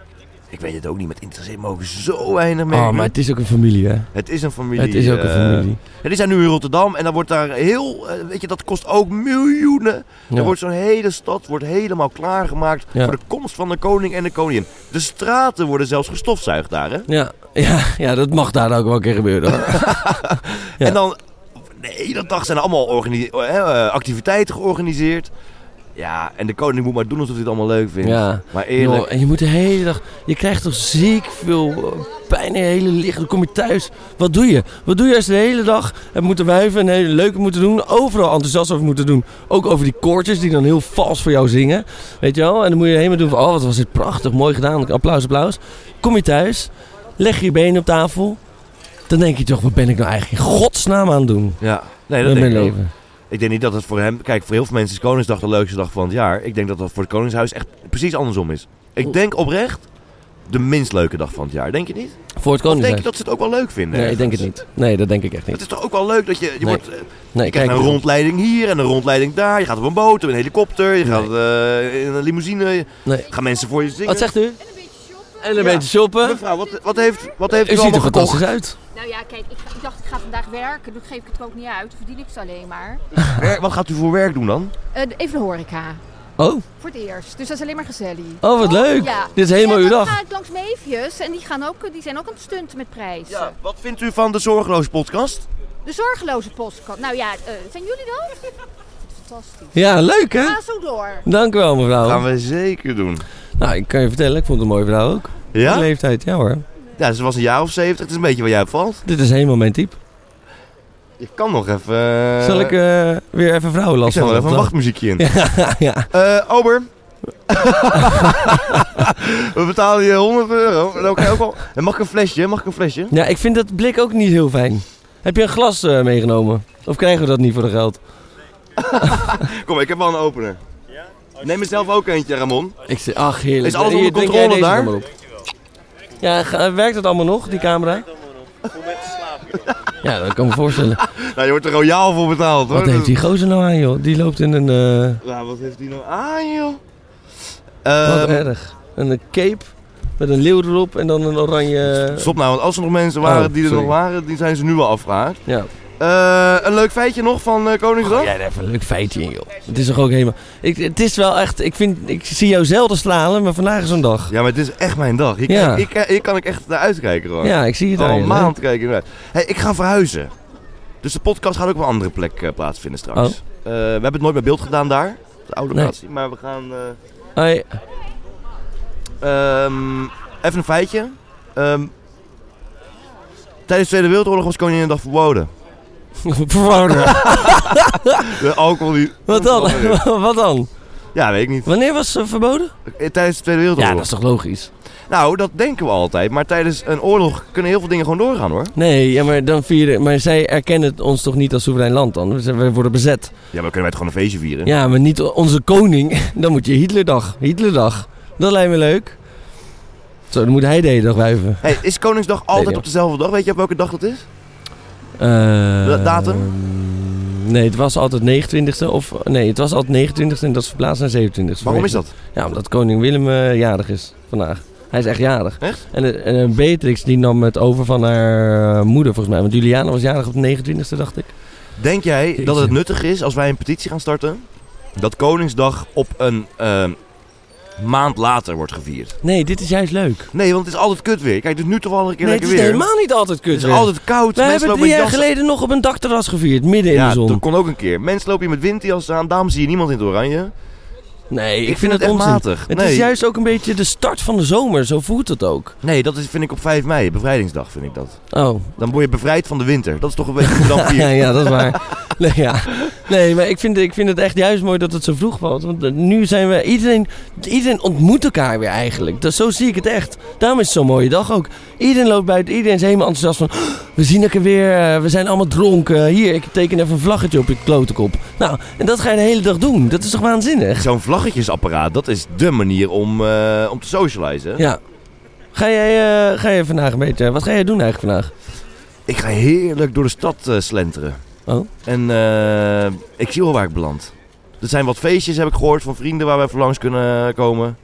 [SPEAKER 1] Ik weet het ook niet, met interesseert mogen zo weinig mee.
[SPEAKER 2] Oh, maar het is ook een familie, hè?
[SPEAKER 1] Het is een familie.
[SPEAKER 2] Het is ook een
[SPEAKER 1] eh,
[SPEAKER 2] familie.
[SPEAKER 1] ja, die zijn nu in Rotterdam en dan wordt daar heel... eh, weet je, dat kost ook miljoenen.
[SPEAKER 2] Ja.
[SPEAKER 1] Er wordt zo'n hele stad wordt helemaal klaargemaakt
[SPEAKER 2] Ja.
[SPEAKER 1] voor de komst van de koning en de koningin. De straten worden zelfs gestofzuigd daar, hè?
[SPEAKER 2] Ja, ja, ja, dat mag daar ook wel een keer gebeuren, hoor. Ja.
[SPEAKER 1] En dan de hele dag zijn er allemaal organi- eh, eh, activiteiten georganiseerd. Ja, en de koning moet maar doen alsof hij het allemaal leuk vindt.
[SPEAKER 2] ja.
[SPEAKER 1] Maar eerlijk,
[SPEAKER 2] Joh, en je moet de hele dag... Je krijgt toch ziek veel eh, pijn in je hele lichaam. Dan kom je thuis. Wat doe je? Wat doe je als je de hele dag hebt moeten wuiven en hele leuke moeten doen? Overal enthousiast over moeten doen. Ook over die koortjes die dan heel vals voor jou zingen. Weet je wel? En dan moet je helemaal doen van... Oh, wat was dit prachtig. Mooi gedaan. Applaus, applaus. Kom je thuis. Leg je je benen op tafel. Dan denk je toch... Wat ben ik nou eigenlijk in godsnaam aan het doen?
[SPEAKER 1] ja. Nee, dat
[SPEAKER 2] Met
[SPEAKER 1] denk
[SPEAKER 2] mijn
[SPEAKER 1] ik ook.
[SPEAKER 2] leven.
[SPEAKER 1] Ik denk niet dat het voor hem... Kijk, voor heel veel mensen is Koningsdag de leukste dag van het jaar. Ik denk dat dat voor het Koningshuis echt precies andersom is. Ik denk oprecht de minst leuke dag van het jaar. Denk je niet?
[SPEAKER 2] Voor het
[SPEAKER 1] Of denk je
[SPEAKER 2] koningshuis.
[SPEAKER 1] dat ze het ook wel leuk vinden?
[SPEAKER 2] Nee, ik denk het niet. Nee, dat denk ik echt
[SPEAKER 1] Het
[SPEAKER 2] niet.
[SPEAKER 1] is toch ook wel leuk dat je... je
[SPEAKER 2] Nee.
[SPEAKER 1] wordt, eh,
[SPEAKER 2] Nee,
[SPEAKER 1] krijgt
[SPEAKER 2] kijk.
[SPEAKER 1] een rondleiding hier en een rondleiding daar. Je gaat op een boot, op een helikopter. Je gaat eh, in een limousine. Je-
[SPEAKER 2] Nee.
[SPEAKER 1] Gaan mensen voor je zingen.
[SPEAKER 2] Wat zegt u? En een
[SPEAKER 1] Ja.
[SPEAKER 2] beetje shoppen.
[SPEAKER 1] Mevrouw, wat, wat heeft, wat heeft
[SPEAKER 2] U ziet er
[SPEAKER 1] allemaal gekocht?
[SPEAKER 2] fantastisch uit.
[SPEAKER 4] Nou ja, kijk, ik, ik dacht ik ga vandaag werken, dus geef ik het er ook niet uit. Dan verdien ik het alleen maar.
[SPEAKER 1] Wer- Wat gaat u voor werk doen dan?
[SPEAKER 4] Eh, even de horeca.
[SPEAKER 2] Oh,
[SPEAKER 4] Voor het eerst. Dus dat is alleen maar gezellig.
[SPEAKER 2] oh wat leuk.
[SPEAKER 4] Ja.
[SPEAKER 2] Dit is helemaal
[SPEAKER 4] ja,
[SPEAKER 2] uw
[SPEAKER 4] dan
[SPEAKER 2] dag.
[SPEAKER 4] ga ik langs Meefjes en die, gaan ook, eh, die zijn ook aan het stunten met prijzen.
[SPEAKER 1] Ja, wat vindt u van de Zorgeloos podcast?
[SPEAKER 4] De zorgeloze postkant. Nou ja, eh, zijn jullie dat? Fantastisch.
[SPEAKER 2] Ja, leuk hè?
[SPEAKER 4] Ga zo door.
[SPEAKER 2] Dank u wel mevrouw.
[SPEAKER 1] Gaan we zeker doen.
[SPEAKER 2] Nou, ik kan je vertellen, ik vond het een mooie vrouw ook. Die
[SPEAKER 1] Ja?
[SPEAKER 2] leeftijd, ja hoor.
[SPEAKER 1] Ja, ze was een jaar of zeventig. Het is een beetje waar jij op valt.
[SPEAKER 2] Dit is helemaal mijn type.
[SPEAKER 1] Je kan nog even... eh,
[SPEAKER 2] Zal ik eh, weer even vrouwen
[SPEAKER 1] Ik
[SPEAKER 2] last
[SPEAKER 1] zet wel even een
[SPEAKER 2] wacht.
[SPEAKER 1] wachtmuziekje in.
[SPEAKER 2] Ja, ja.
[SPEAKER 1] Eh, Ober. we betalen je 100 euro. En dan kan je ook al... En mag ik een flesje? Mag ik een flesje?
[SPEAKER 2] ja, ik vind dat blik ook niet heel fijn. Heb je een glas eh, meegenomen? Of krijgen we dat niet voor de geld?
[SPEAKER 1] Kom, ik heb wel een opener. Neem er zelf ook eentje, Ramon.
[SPEAKER 2] Ik zeg, ach heerlijk.
[SPEAKER 1] Is alles
[SPEAKER 2] Hier,
[SPEAKER 1] onder
[SPEAKER 2] drink jij
[SPEAKER 1] controle
[SPEAKER 2] deze
[SPEAKER 1] daar?
[SPEAKER 2] dan maar op. Ja, ga- werkt het allemaal nog, die camera? Ja, dat kan ik me voorstellen.
[SPEAKER 1] Nou, je wordt er royaal voor betaald, hoor. dus-
[SPEAKER 2] Wat heeft die gozer nou aan, joh? Die loopt in een... eh,
[SPEAKER 1] Ja, wat heeft die nou aan, joh?
[SPEAKER 2] wat eh,
[SPEAKER 1] Ehm,
[SPEAKER 2] erg. Een cape met een leeuw erop en dan een oranje...
[SPEAKER 1] stop nou, want als er nog mensen waren
[SPEAKER 2] Oh,
[SPEAKER 1] die er nog
[SPEAKER 2] sorry.
[SPEAKER 1] waren, die zijn ze nu al afgehaakt.
[SPEAKER 2] Ja.
[SPEAKER 1] Eh, een leuk feitje nog van eh, Koningsdag?
[SPEAKER 2] Oh, Ja, daar even een leuk feitje in, joh. Het is toch ook helemaal... Ik, het is wel echt... Ik, vind, ik zie jou zelden stralen, maar vandaag is zo'n dag.
[SPEAKER 1] Ja, maar het is echt mijn dag. Hier,
[SPEAKER 2] Ja.
[SPEAKER 1] kijk- hier, hier kan ik echt naar uitkijken, hoor.
[SPEAKER 2] Ja, ik zie het
[SPEAKER 1] Al
[SPEAKER 2] al.
[SPEAKER 1] een maand kijken we uit. Hey, ik ga verhuizen. Dus de podcast gaat ook op een andere plek eh, plaatsvinden straks.
[SPEAKER 2] Oh.
[SPEAKER 1] Eh, we hebben het nooit bij beeld gedaan daar. De oude
[SPEAKER 2] Nee.
[SPEAKER 1] locatie. Maar we gaan... eh,
[SPEAKER 2] Hoi.
[SPEAKER 1] ehm, even een feitje. Ehm, tijdens de Tweede Wereldoorlog was Koninginnedag verboden.
[SPEAKER 2] Verwarder.
[SPEAKER 1] De alcohol die...
[SPEAKER 2] Wat dan? Wat dan?
[SPEAKER 1] Ja, weet ik niet.
[SPEAKER 2] Wanneer was ze verboden?
[SPEAKER 1] Eh, Tijdens de Tweede
[SPEAKER 2] Ja,
[SPEAKER 1] Wereldoorlog.
[SPEAKER 2] dat is toch logisch?
[SPEAKER 1] Nou, dat denken we altijd. Maar tijdens een oorlog kunnen heel veel dingen gewoon doorgaan hoor.
[SPEAKER 2] Nee, ja, maar dan vieren... Maar zij erkennen het ons toch niet als soeverein land dan? We zijn- we worden bezet.
[SPEAKER 1] Ja, maar dan kunnen wij het gewoon een feestje vieren.
[SPEAKER 2] Ja, maar niet o- onze koning. Dan moet je Hitlerdag. Hitlerdag. Dat lijkt me leuk. Zo, dan moet hij de hele dag wuiven.
[SPEAKER 1] Hey, is Koningsdag altijd
[SPEAKER 2] Nee,
[SPEAKER 1] op dezelfde dag? Weet je op welke dag dat is?
[SPEAKER 2] Eh,
[SPEAKER 1] datum?
[SPEAKER 2] Nee, het was altijd 29e. Of, nee, het was altijd 29e en dat is verplaatst naar 27e.
[SPEAKER 1] Waarom is dat?
[SPEAKER 2] Ja, omdat koning Willem eh, jarig is vandaag. Hij is echt jarig.
[SPEAKER 1] Echt?
[SPEAKER 2] En, eh, en eh, Beatrix die nam het over van haar eh, moeder volgens mij. Want Juliana was jarig op de 29e, dacht ik.
[SPEAKER 1] Denk jij
[SPEAKER 2] Jeetje.
[SPEAKER 1] dat het nuttig is als wij een petitie gaan starten? Dat Koningsdag op een ehm, maand later wordt gevierd.
[SPEAKER 2] Nee, dit is juist leuk.
[SPEAKER 1] Nee, want het is altijd kut weer. Kijk, het is nu toch wel een keer
[SPEAKER 2] nee, het
[SPEAKER 1] lekker
[SPEAKER 2] is
[SPEAKER 1] weer.
[SPEAKER 2] helemaal niet altijd kut
[SPEAKER 1] het is
[SPEAKER 2] weer.
[SPEAKER 1] altijd koud.
[SPEAKER 2] We
[SPEAKER 1] Mensen
[SPEAKER 2] hebben
[SPEAKER 1] lopen
[SPEAKER 2] drie
[SPEAKER 1] met
[SPEAKER 2] jaar
[SPEAKER 1] jassen-
[SPEAKER 2] geleden nog op een dakterras gevierd, midden in de
[SPEAKER 1] Ja,
[SPEAKER 2] zon.
[SPEAKER 1] dat kon ook een keer. Mensen lopen hier met windjas aan. Daarom zie je niemand in het oranje.
[SPEAKER 2] Nee, ik,
[SPEAKER 1] Ik
[SPEAKER 2] vind het
[SPEAKER 1] echt
[SPEAKER 2] onzin.
[SPEAKER 1] matig.
[SPEAKER 2] Het
[SPEAKER 1] nee.
[SPEAKER 2] is juist ook een beetje de start van de zomer, zo voelt het ook.
[SPEAKER 1] nee, dat is, vind ik op 5 mei. Bevrijdingsdag vind ik dat.
[SPEAKER 2] Oh,
[SPEAKER 1] Dan word je bevrijd van de winter. Dat is toch een beetje hoe je dan
[SPEAKER 2] ja,
[SPEAKER 1] viert.
[SPEAKER 2] ja, dat is waar. Nee, ja. nee maar ik vind, ik vind het echt juist mooi dat het zo vroeg valt. Want eh, nu zijn we... Iedereen, iedereen ontmoet elkaar weer eigenlijk. Dat, zo zie ik het echt. Daarom is het zo'n mooie dag ook. Iedereen loopt buiten. Iedereen is helemaal enthousiast van... "Oh, we zien elkaar weer. eh, We zijn allemaal dronken. Hier, ik teken even een vlaggetje op je klotenkop. Nou, en dat ga je de hele dag doen. Dat is toch waanzinnig?
[SPEAKER 1] Zo'n vlaggetjesapparaat, dat is dé manier om, eh, om te socializen.
[SPEAKER 2] Ja. Ga jij, eh, ga jij vandaag een beetje... Wat ga jij doen eigenlijk vandaag?
[SPEAKER 1] Ik ga heerlijk door de stad eh, slenteren.
[SPEAKER 2] Oh.
[SPEAKER 1] En eh, ik zie wel waar ik beland. Er zijn wat feestjes, heb ik gehoord, van vrienden waar wij voor langs kunnen komen.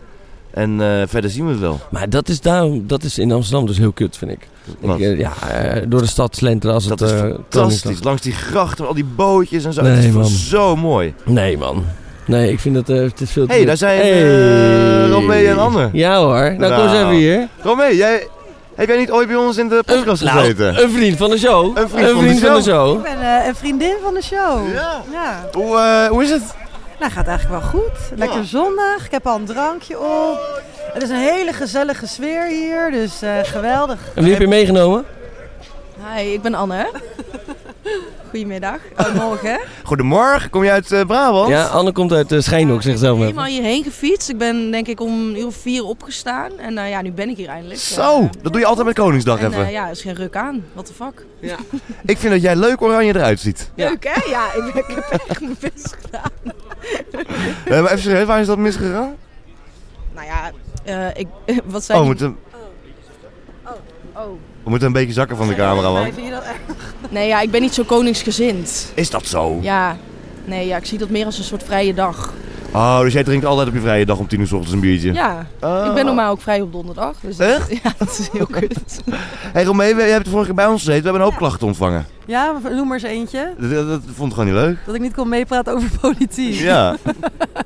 [SPEAKER 1] En eh, verder zien we het wel.
[SPEAKER 2] Maar dat is, daarom, dat is in Amsterdam dus heel kut, vind ik.
[SPEAKER 1] Wat?
[SPEAKER 2] ik eh, ja, eh, door de stad slenteren als
[SPEAKER 1] dat
[SPEAKER 2] het...
[SPEAKER 1] is
[SPEAKER 2] eh, Koningsdag.
[SPEAKER 1] fantastisch. Langs die grachten, al die bootjes en zo.
[SPEAKER 2] Nee,
[SPEAKER 1] het is
[SPEAKER 2] man.
[SPEAKER 1] zo mooi.
[SPEAKER 2] Nee, man. Nee, ik vind dat eh, het is veel te...
[SPEAKER 1] Hé, hey, daar zijn
[SPEAKER 2] Hey.
[SPEAKER 1] eh, Romee en Anne.
[SPEAKER 2] Ja hoor, nou, kom eens
[SPEAKER 1] Nou.
[SPEAKER 2] even hier.
[SPEAKER 1] Romee, jij, heb jij niet ooit bij ons in de podcast
[SPEAKER 2] nou,
[SPEAKER 1] gezeten?
[SPEAKER 2] een vriend van de show.
[SPEAKER 1] Een vriend van de
[SPEAKER 2] van de
[SPEAKER 1] show.
[SPEAKER 2] show.
[SPEAKER 5] Ik ben eh, een vriendin van de show.
[SPEAKER 2] Eh.
[SPEAKER 1] Ja.
[SPEAKER 5] Ja.
[SPEAKER 1] Hoe, eh, hoe is het?
[SPEAKER 5] Nou, gaat eigenlijk wel goed. Lekker
[SPEAKER 1] Ja.
[SPEAKER 5] zondag. Ik heb al een drankje op. Het is een hele gezellige sfeer hier, dus eh, geweldig.
[SPEAKER 2] En wie heb je meegenomen?
[SPEAKER 6] Hi, ik ben Anne. Goedemiddag. Oh, morgen.
[SPEAKER 1] Goedemorgen, kom je uit eh, Brabant?
[SPEAKER 2] Ja, Anne komt uit eh, Schijnhoek, zeg zelf maar.
[SPEAKER 6] Helemaal hierheen gefietst. Ik ben denk ik om een uur of vier opgestaan. En nou ja, nu ben ik hier eindelijk.
[SPEAKER 1] Zo,
[SPEAKER 6] Eh,
[SPEAKER 1] dat doe je altijd met Koningsdag
[SPEAKER 6] en,
[SPEAKER 1] even.
[SPEAKER 6] eh, ja, er is geen ruk aan. What the fuck.
[SPEAKER 1] Ik vind dat jij leuk oranje eruit ziet.
[SPEAKER 2] Ja.
[SPEAKER 6] Leuk hè? Ja, ik, ben- ik heb echt mijn best gedaan.
[SPEAKER 1] Eh, maar even serieus, waar is dat misgegaan?
[SPEAKER 6] Nou ja, eh, ik, wat
[SPEAKER 1] Oh,
[SPEAKER 6] zijn
[SPEAKER 1] we
[SPEAKER 6] die-
[SPEAKER 1] moeten,
[SPEAKER 6] Oh.
[SPEAKER 1] we moeten een beetje zakken van de camera, man.
[SPEAKER 5] Vind je dat echt?
[SPEAKER 6] Nee ja, ik ben niet zo koningsgezind.
[SPEAKER 1] Is dat zo?
[SPEAKER 6] Ja. Nee, ja, ik zie dat meer als een soort vrije dag.
[SPEAKER 1] Oh, dus jij drinkt altijd op je vrije dag om tien uur 's ochtends een biertje?
[SPEAKER 6] Ja,
[SPEAKER 1] Oh.
[SPEAKER 6] ik ben normaal ook vrij op donderdag. Dus dat-
[SPEAKER 1] Echt?
[SPEAKER 6] Ja, dat is heel kut.
[SPEAKER 1] Hé hey, Romee, we- jij hebt vorige keer bij ons gezeten. We hebben een hoop klachten ontvangen.
[SPEAKER 5] Ja, noem maar eens eentje.
[SPEAKER 1] Dat, dat- dat vond ik gewoon niet leuk.
[SPEAKER 5] Dat ik niet kon meepraten over politiek.
[SPEAKER 1] Ja.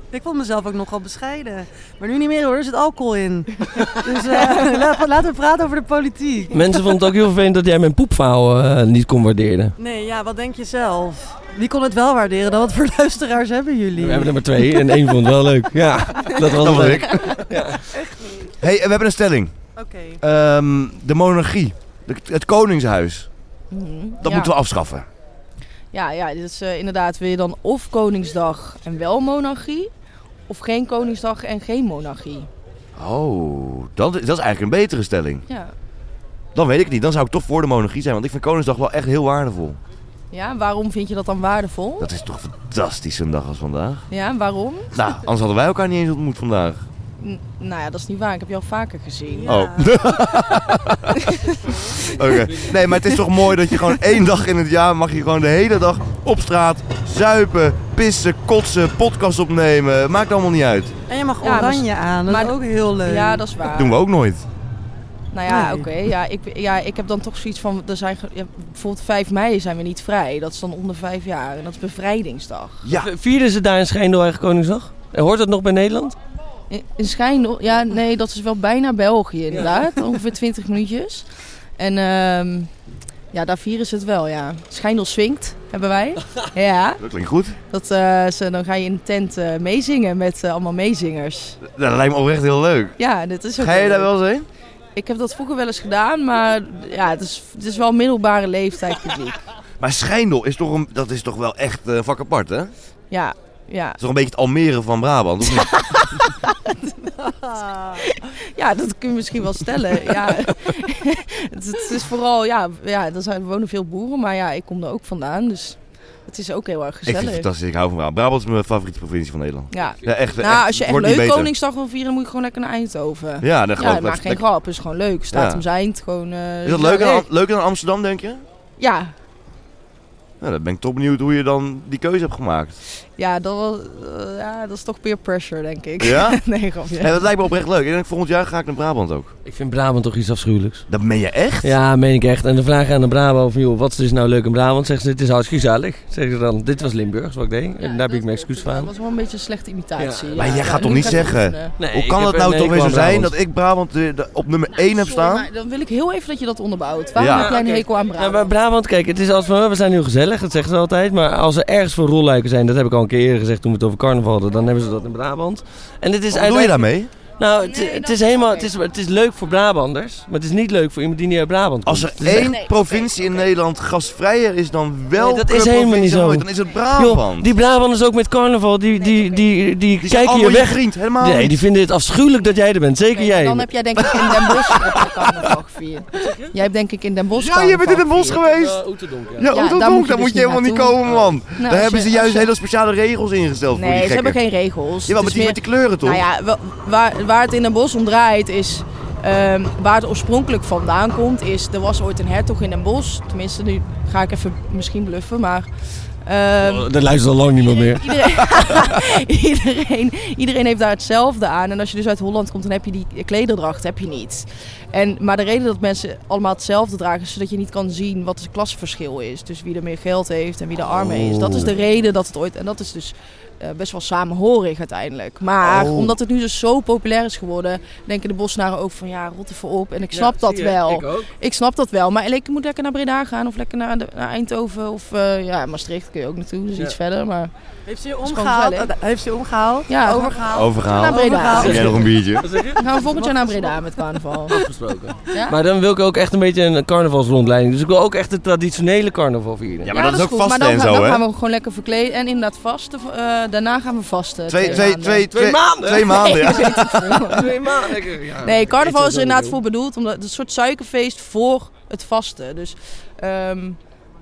[SPEAKER 5] Ik vond mezelf ook nogal bescheiden. Maar nu niet meer hoor, er zit alcohol in. dus eh, la- laten we praten over de politiek.
[SPEAKER 2] Mensen vonden het ook heel vervelend dat jij mijn poepvaal eh, niet kon waarderen.
[SPEAKER 5] Nee, ja, wat denk je zelf? Wie kon het wel waarderen dan? Wat voor luisteraars hebben jullie?
[SPEAKER 2] We hebben er maar twee en één vond het wel leuk. Ja, dat was
[SPEAKER 1] Dat was
[SPEAKER 2] leuk.
[SPEAKER 1] ik. hey, we hebben een stelling.
[SPEAKER 5] Oké.
[SPEAKER 1] Ehm, de monarchie. De- het koningshuis.
[SPEAKER 6] Mhm.
[SPEAKER 1] Dat moeten we afschaffen.
[SPEAKER 6] Ja, ja, dus eh, inderdaad wil je dan of Koningsdag en wel monarchie, of geen Koningsdag en geen monarchie.
[SPEAKER 1] Oh, dat, is- dat is eigenlijk een betere stelling.
[SPEAKER 6] Ja.
[SPEAKER 1] Dan weet ik het niet. Dan zou ik toch voor de monarchie zijn. Want ik vind Koningsdag wel echt heel waardevol.
[SPEAKER 6] ja, waarom vind je dat dan waardevol?
[SPEAKER 1] Dat is toch fantastisch een dag als vandaag.
[SPEAKER 6] Ja, waarom?
[SPEAKER 1] Nou, anders hadden wij elkaar niet eens ontmoet vandaag.
[SPEAKER 6] N- nou ja, dat is niet waar. Ik heb jou vaker gezien.
[SPEAKER 5] Ja.
[SPEAKER 1] Oh. Oké. Nee, maar het is toch mooi dat je gewoon één dag in het jaar mag je gewoon de hele dag op straat zuipen, pissen, kotsen, podcast opnemen. Maakt allemaal niet uit.
[SPEAKER 5] En je mag
[SPEAKER 6] Ja, maar-
[SPEAKER 5] oranje aan, dat is
[SPEAKER 6] maar-
[SPEAKER 5] ook heel leuk.
[SPEAKER 6] Ja, dat is waar.
[SPEAKER 1] Dat doen we ook nooit.
[SPEAKER 6] Nou ja,
[SPEAKER 5] Nee.
[SPEAKER 6] oké. ja, ik, ja, ik heb dan toch zoiets van, er zijn, ge- ja, bijvoorbeeld 5 mei zijn we niet vrij. Dat is dan onder 5 jaar en dat is bevrijdingsdag.
[SPEAKER 1] Ja.
[SPEAKER 2] Vierden ze daar in Schijndel eigen Koningsdag? En hoort dat nog bij Nederland?
[SPEAKER 6] In, in Schijndel, ja nee, dat is wel bijna België inderdaad. Ongeveer 20 minuutjes. En ehm, ja, daar vieren ze het wel, ja. Schijndel swingt, hebben wij. ja,
[SPEAKER 1] Dat klinkt goed.
[SPEAKER 6] dat, eh, ze, dan ga je in een tent eh, meezingen met eh, allemaal meezingers.
[SPEAKER 1] Dat lijkt me oprecht heel leuk.
[SPEAKER 6] Ja, dit is ook
[SPEAKER 1] Ga je
[SPEAKER 6] heel
[SPEAKER 1] daar
[SPEAKER 6] leuk.
[SPEAKER 1] wel eens heen?
[SPEAKER 6] Ik heb dat vroeger wel eens gedaan, maar ja, het is, het is wel middelbare leeftijd publiek.
[SPEAKER 1] Maar Schijndel is toch, een, dat is toch wel echt eh, een vak apart, hè? Het
[SPEAKER 6] Ja, ja.
[SPEAKER 1] is toch een beetje het Almere van Brabant, of niet?
[SPEAKER 5] Ah.
[SPEAKER 6] ja, dat kun je misschien wel stellen. ja. het, het is vooral, ja, ja, er zijn, wonen veel boeren, maar ja, ik kom er ook vandaan. Dus het is ook heel erg
[SPEAKER 1] Ik vind het
[SPEAKER 6] gezellig.
[SPEAKER 1] fantastisch. Ik hou van Brabant. Brabant is mijn favoriete provincie van Nederland.
[SPEAKER 6] Ja.
[SPEAKER 1] Ja, echt,
[SPEAKER 6] Nou, als je echt
[SPEAKER 1] wordt niet
[SPEAKER 6] leuk
[SPEAKER 1] beter.
[SPEAKER 6] Koningsdag wil vieren, moet je gewoon lekker naar Eindhoven.
[SPEAKER 1] Ja, dan
[SPEAKER 6] Ja,
[SPEAKER 1] geloof
[SPEAKER 6] dat
[SPEAKER 1] ik dat-
[SPEAKER 6] maakt geen grap. Het is gewoon leuk. Staat
[SPEAKER 1] Ja.
[SPEAKER 6] om zijn eind, gewoon... eh,
[SPEAKER 1] Is dat
[SPEAKER 6] ja,
[SPEAKER 1] leuker,
[SPEAKER 6] nee.
[SPEAKER 1] dan, leuker dan Amsterdam, denk je?
[SPEAKER 6] Ja.
[SPEAKER 1] Nou, dan ben ik toch benieuwd hoe je dan die keuze hebt gemaakt.
[SPEAKER 6] Ja, dat, was- eh, ja, dat is toch peer pressure, denk ik.
[SPEAKER 1] Ja?
[SPEAKER 6] nee, grapje.
[SPEAKER 1] En dat lijkt me oprecht leuk. Ik denk, volgend jaar ga ik naar Brabant ook.
[SPEAKER 2] Ik vind Brabant toch iets afschuwelijks.
[SPEAKER 1] Dat meen je echt?
[SPEAKER 2] Ja, meen ik echt. En de vraag aan de Brabo van, joh, wat is dus nou leuk in Brabant? Zeggen ze, het is hartstikke gezellig. Zeggen ze dan, dit was Limburg, wat ik deed. en daar heb ik mijn excuus
[SPEAKER 6] Dat
[SPEAKER 2] van.
[SPEAKER 6] was wel een beetje een slechte imitatie.
[SPEAKER 2] Ja.
[SPEAKER 1] Maar jij gaat
[SPEAKER 6] nu
[SPEAKER 1] toch niet
[SPEAKER 6] ga ik
[SPEAKER 1] zeggen?
[SPEAKER 6] oefenen.
[SPEAKER 1] Hoe kan het nou toch weer zo zijn dat ik Brabant eh, de- op nummer 1 heb
[SPEAKER 6] Sorry,
[SPEAKER 1] staan?
[SPEAKER 6] maar dan wil ik heel even dat je dat onderbouwt. Waarom
[SPEAKER 1] Ja.
[SPEAKER 6] heb jij een hekel aan Brabant?
[SPEAKER 2] Ja, nou, maar Brabant, kijk, het is als van, we zijn heel gezellig, dat zeggen ze altijd. Maar als er ergens voor rolluiken zijn, dat heb ik al een keer eerder gezegd toen we het over carnaval hadden, dan hebben ze dat in Brabant. En het is
[SPEAKER 1] Wat doe je daarmee?
[SPEAKER 2] Nou, het,
[SPEAKER 6] Nee,
[SPEAKER 2] het
[SPEAKER 6] dat
[SPEAKER 2] is
[SPEAKER 6] is
[SPEAKER 2] helemaal, het
[SPEAKER 6] oké.
[SPEAKER 2] is, het is leuk voor Brabanders, maar het is niet leuk voor iemand die niet uit Brabant komt.
[SPEAKER 1] Als er
[SPEAKER 2] Het is
[SPEAKER 1] één
[SPEAKER 6] Nee, oké,
[SPEAKER 1] provincie in
[SPEAKER 6] oké.
[SPEAKER 1] Nederland gastvrijer is dan wel
[SPEAKER 2] Nee, dat is helemaal niet zo.
[SPEAKER 1] dan is het
[SPEAKER 2] Joh,
[SPEAKER 1] Brabant.
[SPEAKER 2] die Brabanders ook met carnaval, die, die, die, die,
[SPEAKER 1] Die zijn
[SPEAKER 2] kijken je
[SPEAKER 1] allemaal
[SPEAKER 2] weg.
[SPEAKER 1] vriend, helemaal
[SPEAKER 2] Nee,
[SPEAKER 1] niet.
[SPEAKER 2] die vinden het afschuwelijk dat jij er bent. Zeker
[SPEAKER 6] Nee, maar
[SPEAKER 2] jij.
[SPEAKER 6] Dan heb jij denk ik in Den Bosch heb je carnaval gevierd. Jij hebt denk ik in Den Bosch
[SPEAKER 1] Ja, je bent in Den
[SPEAKER 6] carnaval
[SPEAKER 1] Bosch geweest. Ja,
[SPEAKER 6] Ja,
[SPEAKER 1] hoe dat
[SPEAKER 6] daar
[SPEAKER 1] ook,
[SPEAKER 6] moet je
[SPEAKER 1] daar moet
[SPEAKER 6] dus
[SPEAKER 1] je
[SPEAKER 6] niet
[SPEAKER 1] helemaal niet
[SPEAKER 6] naartoe.
[SPEAKER 1] komen, man.
[SPEAKER 6] Nou,
[SPEAKER 1] daar
[SPEAKER 6] als
[SPEAKER 1] hebben
[SPEAKER 6] je-
[SPEAKER 1] ze juist
[SPEAKER 6] als je-
[SPEAKER 1] hele speciale regels ingesteld voor
[SPEAKER 6] Nee,
[SPEAKER 1] die
[SPEAKER 6] ze hebben
[SPEAKER 1] gekken.
[SPEAKER 6] geen regels.
[SPEAKER 1] Jawel, maar die
[SPEAKER 6] Het is
[SPEAKER 1] met die kleuren toch?
[SPEAKER 6] Nou ja, wa- waar, waar het in Den Bosch om draait is... ehm, waar het oorspronkelijk vandaan komt is... Er was ooit een hertog in Den Bosch. Tenminste, nu ga ik even misschien bluffen, maar... ehm,
[SPEAKER 2] Dat luistert al lang niemand meer.
[SPEAKER 6] Iedereen, iedereen, iedereen heeft daar hetzelfde aan. En als je dus uit Holland komt, dan heb je die klederdracht heb je niet. En, maar de reden dat mensen allemaal hetzelfde dragen, is zodat je niet kan zien wat het klasverschil is. Dus wie er meer geld heeft en wie er armer is. Dat is de reden dat het ooit. En dat is dus eh, best wel samenhorig uiteindelijk. Maar
[SPEAKER 1] Oh.
[SPEAKER 6] omdat het nu dus zo populair is geworden, denken de bosnaren ook van ja, rot ervoor op. En ik snap dat wel. Ik, snap dat wel. Maar ik moet lekker naar Breda gaan of lekker naar, de- naar Eindhoven of eh, ja, Maastricht kun je ook naartoe. Dus
[SPEAKER 2] Ja.
[SPEAKER 6] iets verder. Maar
[SPEAKER 5] Heeft ze je
[SPEAKER 6] is gewoon
[SPEAKER 5] omgehaald?
[SPEAKER 6] gezellig.
[SPEAKER 5] Heeft ze je omgehaald?
[SPEAKER 6] Ja,
[SPEAKER 5] overgehaald.
[SPEAKER 6] Naar
[SPEAKER 1] Overgehaald.
[SPEAKER 6] Breda.
[SPEAKER 1] Heb jij nog een biertje?
[SPEAKER 6] Dan gaan we volgend jaar naar Breda met carnaval. Ja?
[SPEAKER 2] Maar dan wil ik ook echt een beetje een carnavalsrondleiding. Dus ik wil ook echt de traditionele carnaval vieren.
[SPEAKER 1] Ja,
[SPEAKER 2] Ja,
[SPEAKER 1] maar dat is ook
[SPEAKER 6] goed.
[SPEAKER 1] vast
[SPEAKER 6] maar dan
[SPEAKER 1] en
[SPEAKER 6] gaan-
[SPEAKER 1] zo,
[SPEAKER 6] Dan
[SPEAKER 1] hè?
[SPEAKER 6] gaan we gewoon lekker verkleden. En inderdaad vasten. eh, daarna gaan we vasten.
[SPEAKER 1] Twee, twee,
[SPEAKER 6] maanden.
[SPEAKER 1] twee,
[SPEAKER 2] Twee maanden?
[SPEAKER 1] Twee maanden, ja.
[SPEAKER 2] twee maanden. Ja.
[SPEAKER 6] Nee, carnaval is er
[SPEAKER 2] Eet dat
[SPEAKER 6] inderdaad
[SPEAKER 2] wel
[SPEAKER 6] voor bedoeld. Omdat het is een soort suikerfeest voor het vasten. Dus ehm,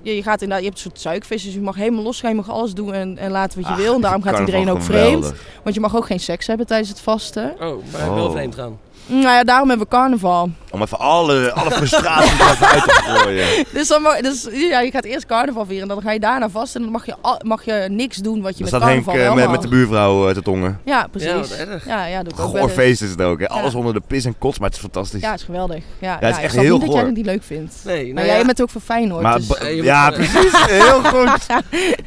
[SPEAKER 6] ja, je, gaat inderdaad, je hebt een soort suikerfeest. Dus je mag helemaal losgaan. Je mag alles doen en, en laten wat je wil. En daarom gaat
[SPEAKER 1] Carnaval,
[SPEAKER 6] iedereen ook
[SPEAKER 1] geweldig.
[SPEAKER 6] vreemd. Want je mag ook geen seks hebben tijdens het vasten.
[SPEAKER 2] Oh, maar ik
[SPEAKER 1] Oh.
[SPEAKER 2] wil vreemd gaan.
[SPEAKER 6] Nou ja, daarom hebben we carnaval.
[SPEAKER 1] Om even alle, alle frustraties er even uit te gooien.
[SPEAKER 6] Dus, dan, mag- dus ja, je gaat eerst carnaval vieren, dan ga je daarna vast en dan mag je, al- mag je niks doen wat je
[SPEAKER 1] Dan staat
[SPEAKER 6] met
[SPEAKER 1] Henk
[SPEAKER 6] carnaval
[SPEAKER 1] eh,
[SPEAKER 6] wel
[SPEAKER 1] met,
[SPEAKER 6] mag.
[SPEAKER 1] met de buurvrouw eh, te tongen.
[SPEAKER 6] Ja,
[SPEAKER 2] Ja, wat
[SPEAKER 6] precies. Ja,
[SPEAKER 2] erg.
[SPEAKER 6] ja, doe ik ook wel
[SPEAKER 1] Goor
[SPEAKER 6] eens.
[SPEAKER 1] feest is het ook. Hè? Alles
[SPEAKER 6] Ja.
[SPEAKER 1] onder de pis en kots, maar het is fantastisch.
[SPEAKER 6] Ja, het is geweldig. Ja, ja,
[SPEAKER 1] het is
[SPEAKER 6] ik
[SPEAKER 1] echt
[SPEAKER 6] snap
[SPEAKER 1] heel
[SPEAKER 6] niet dat jij
[SPEAKER 1] goor.
[SPEAKER 6] het niet leuk vindt.
[SPEAKER 2] Nee, nou
[SPEAKER 6] maar
[SPEAKER 2] ja.
[SPEAKER 6] jij bent ook voor Feyenoord.
[SPEAKER 1] maar,
[SPEAKER 6] dus...
[SPEAKER 1] ba-
[SPEAKER 2] Eh, je moet-
[SPEAKER 1] ja, precies. Heel goed.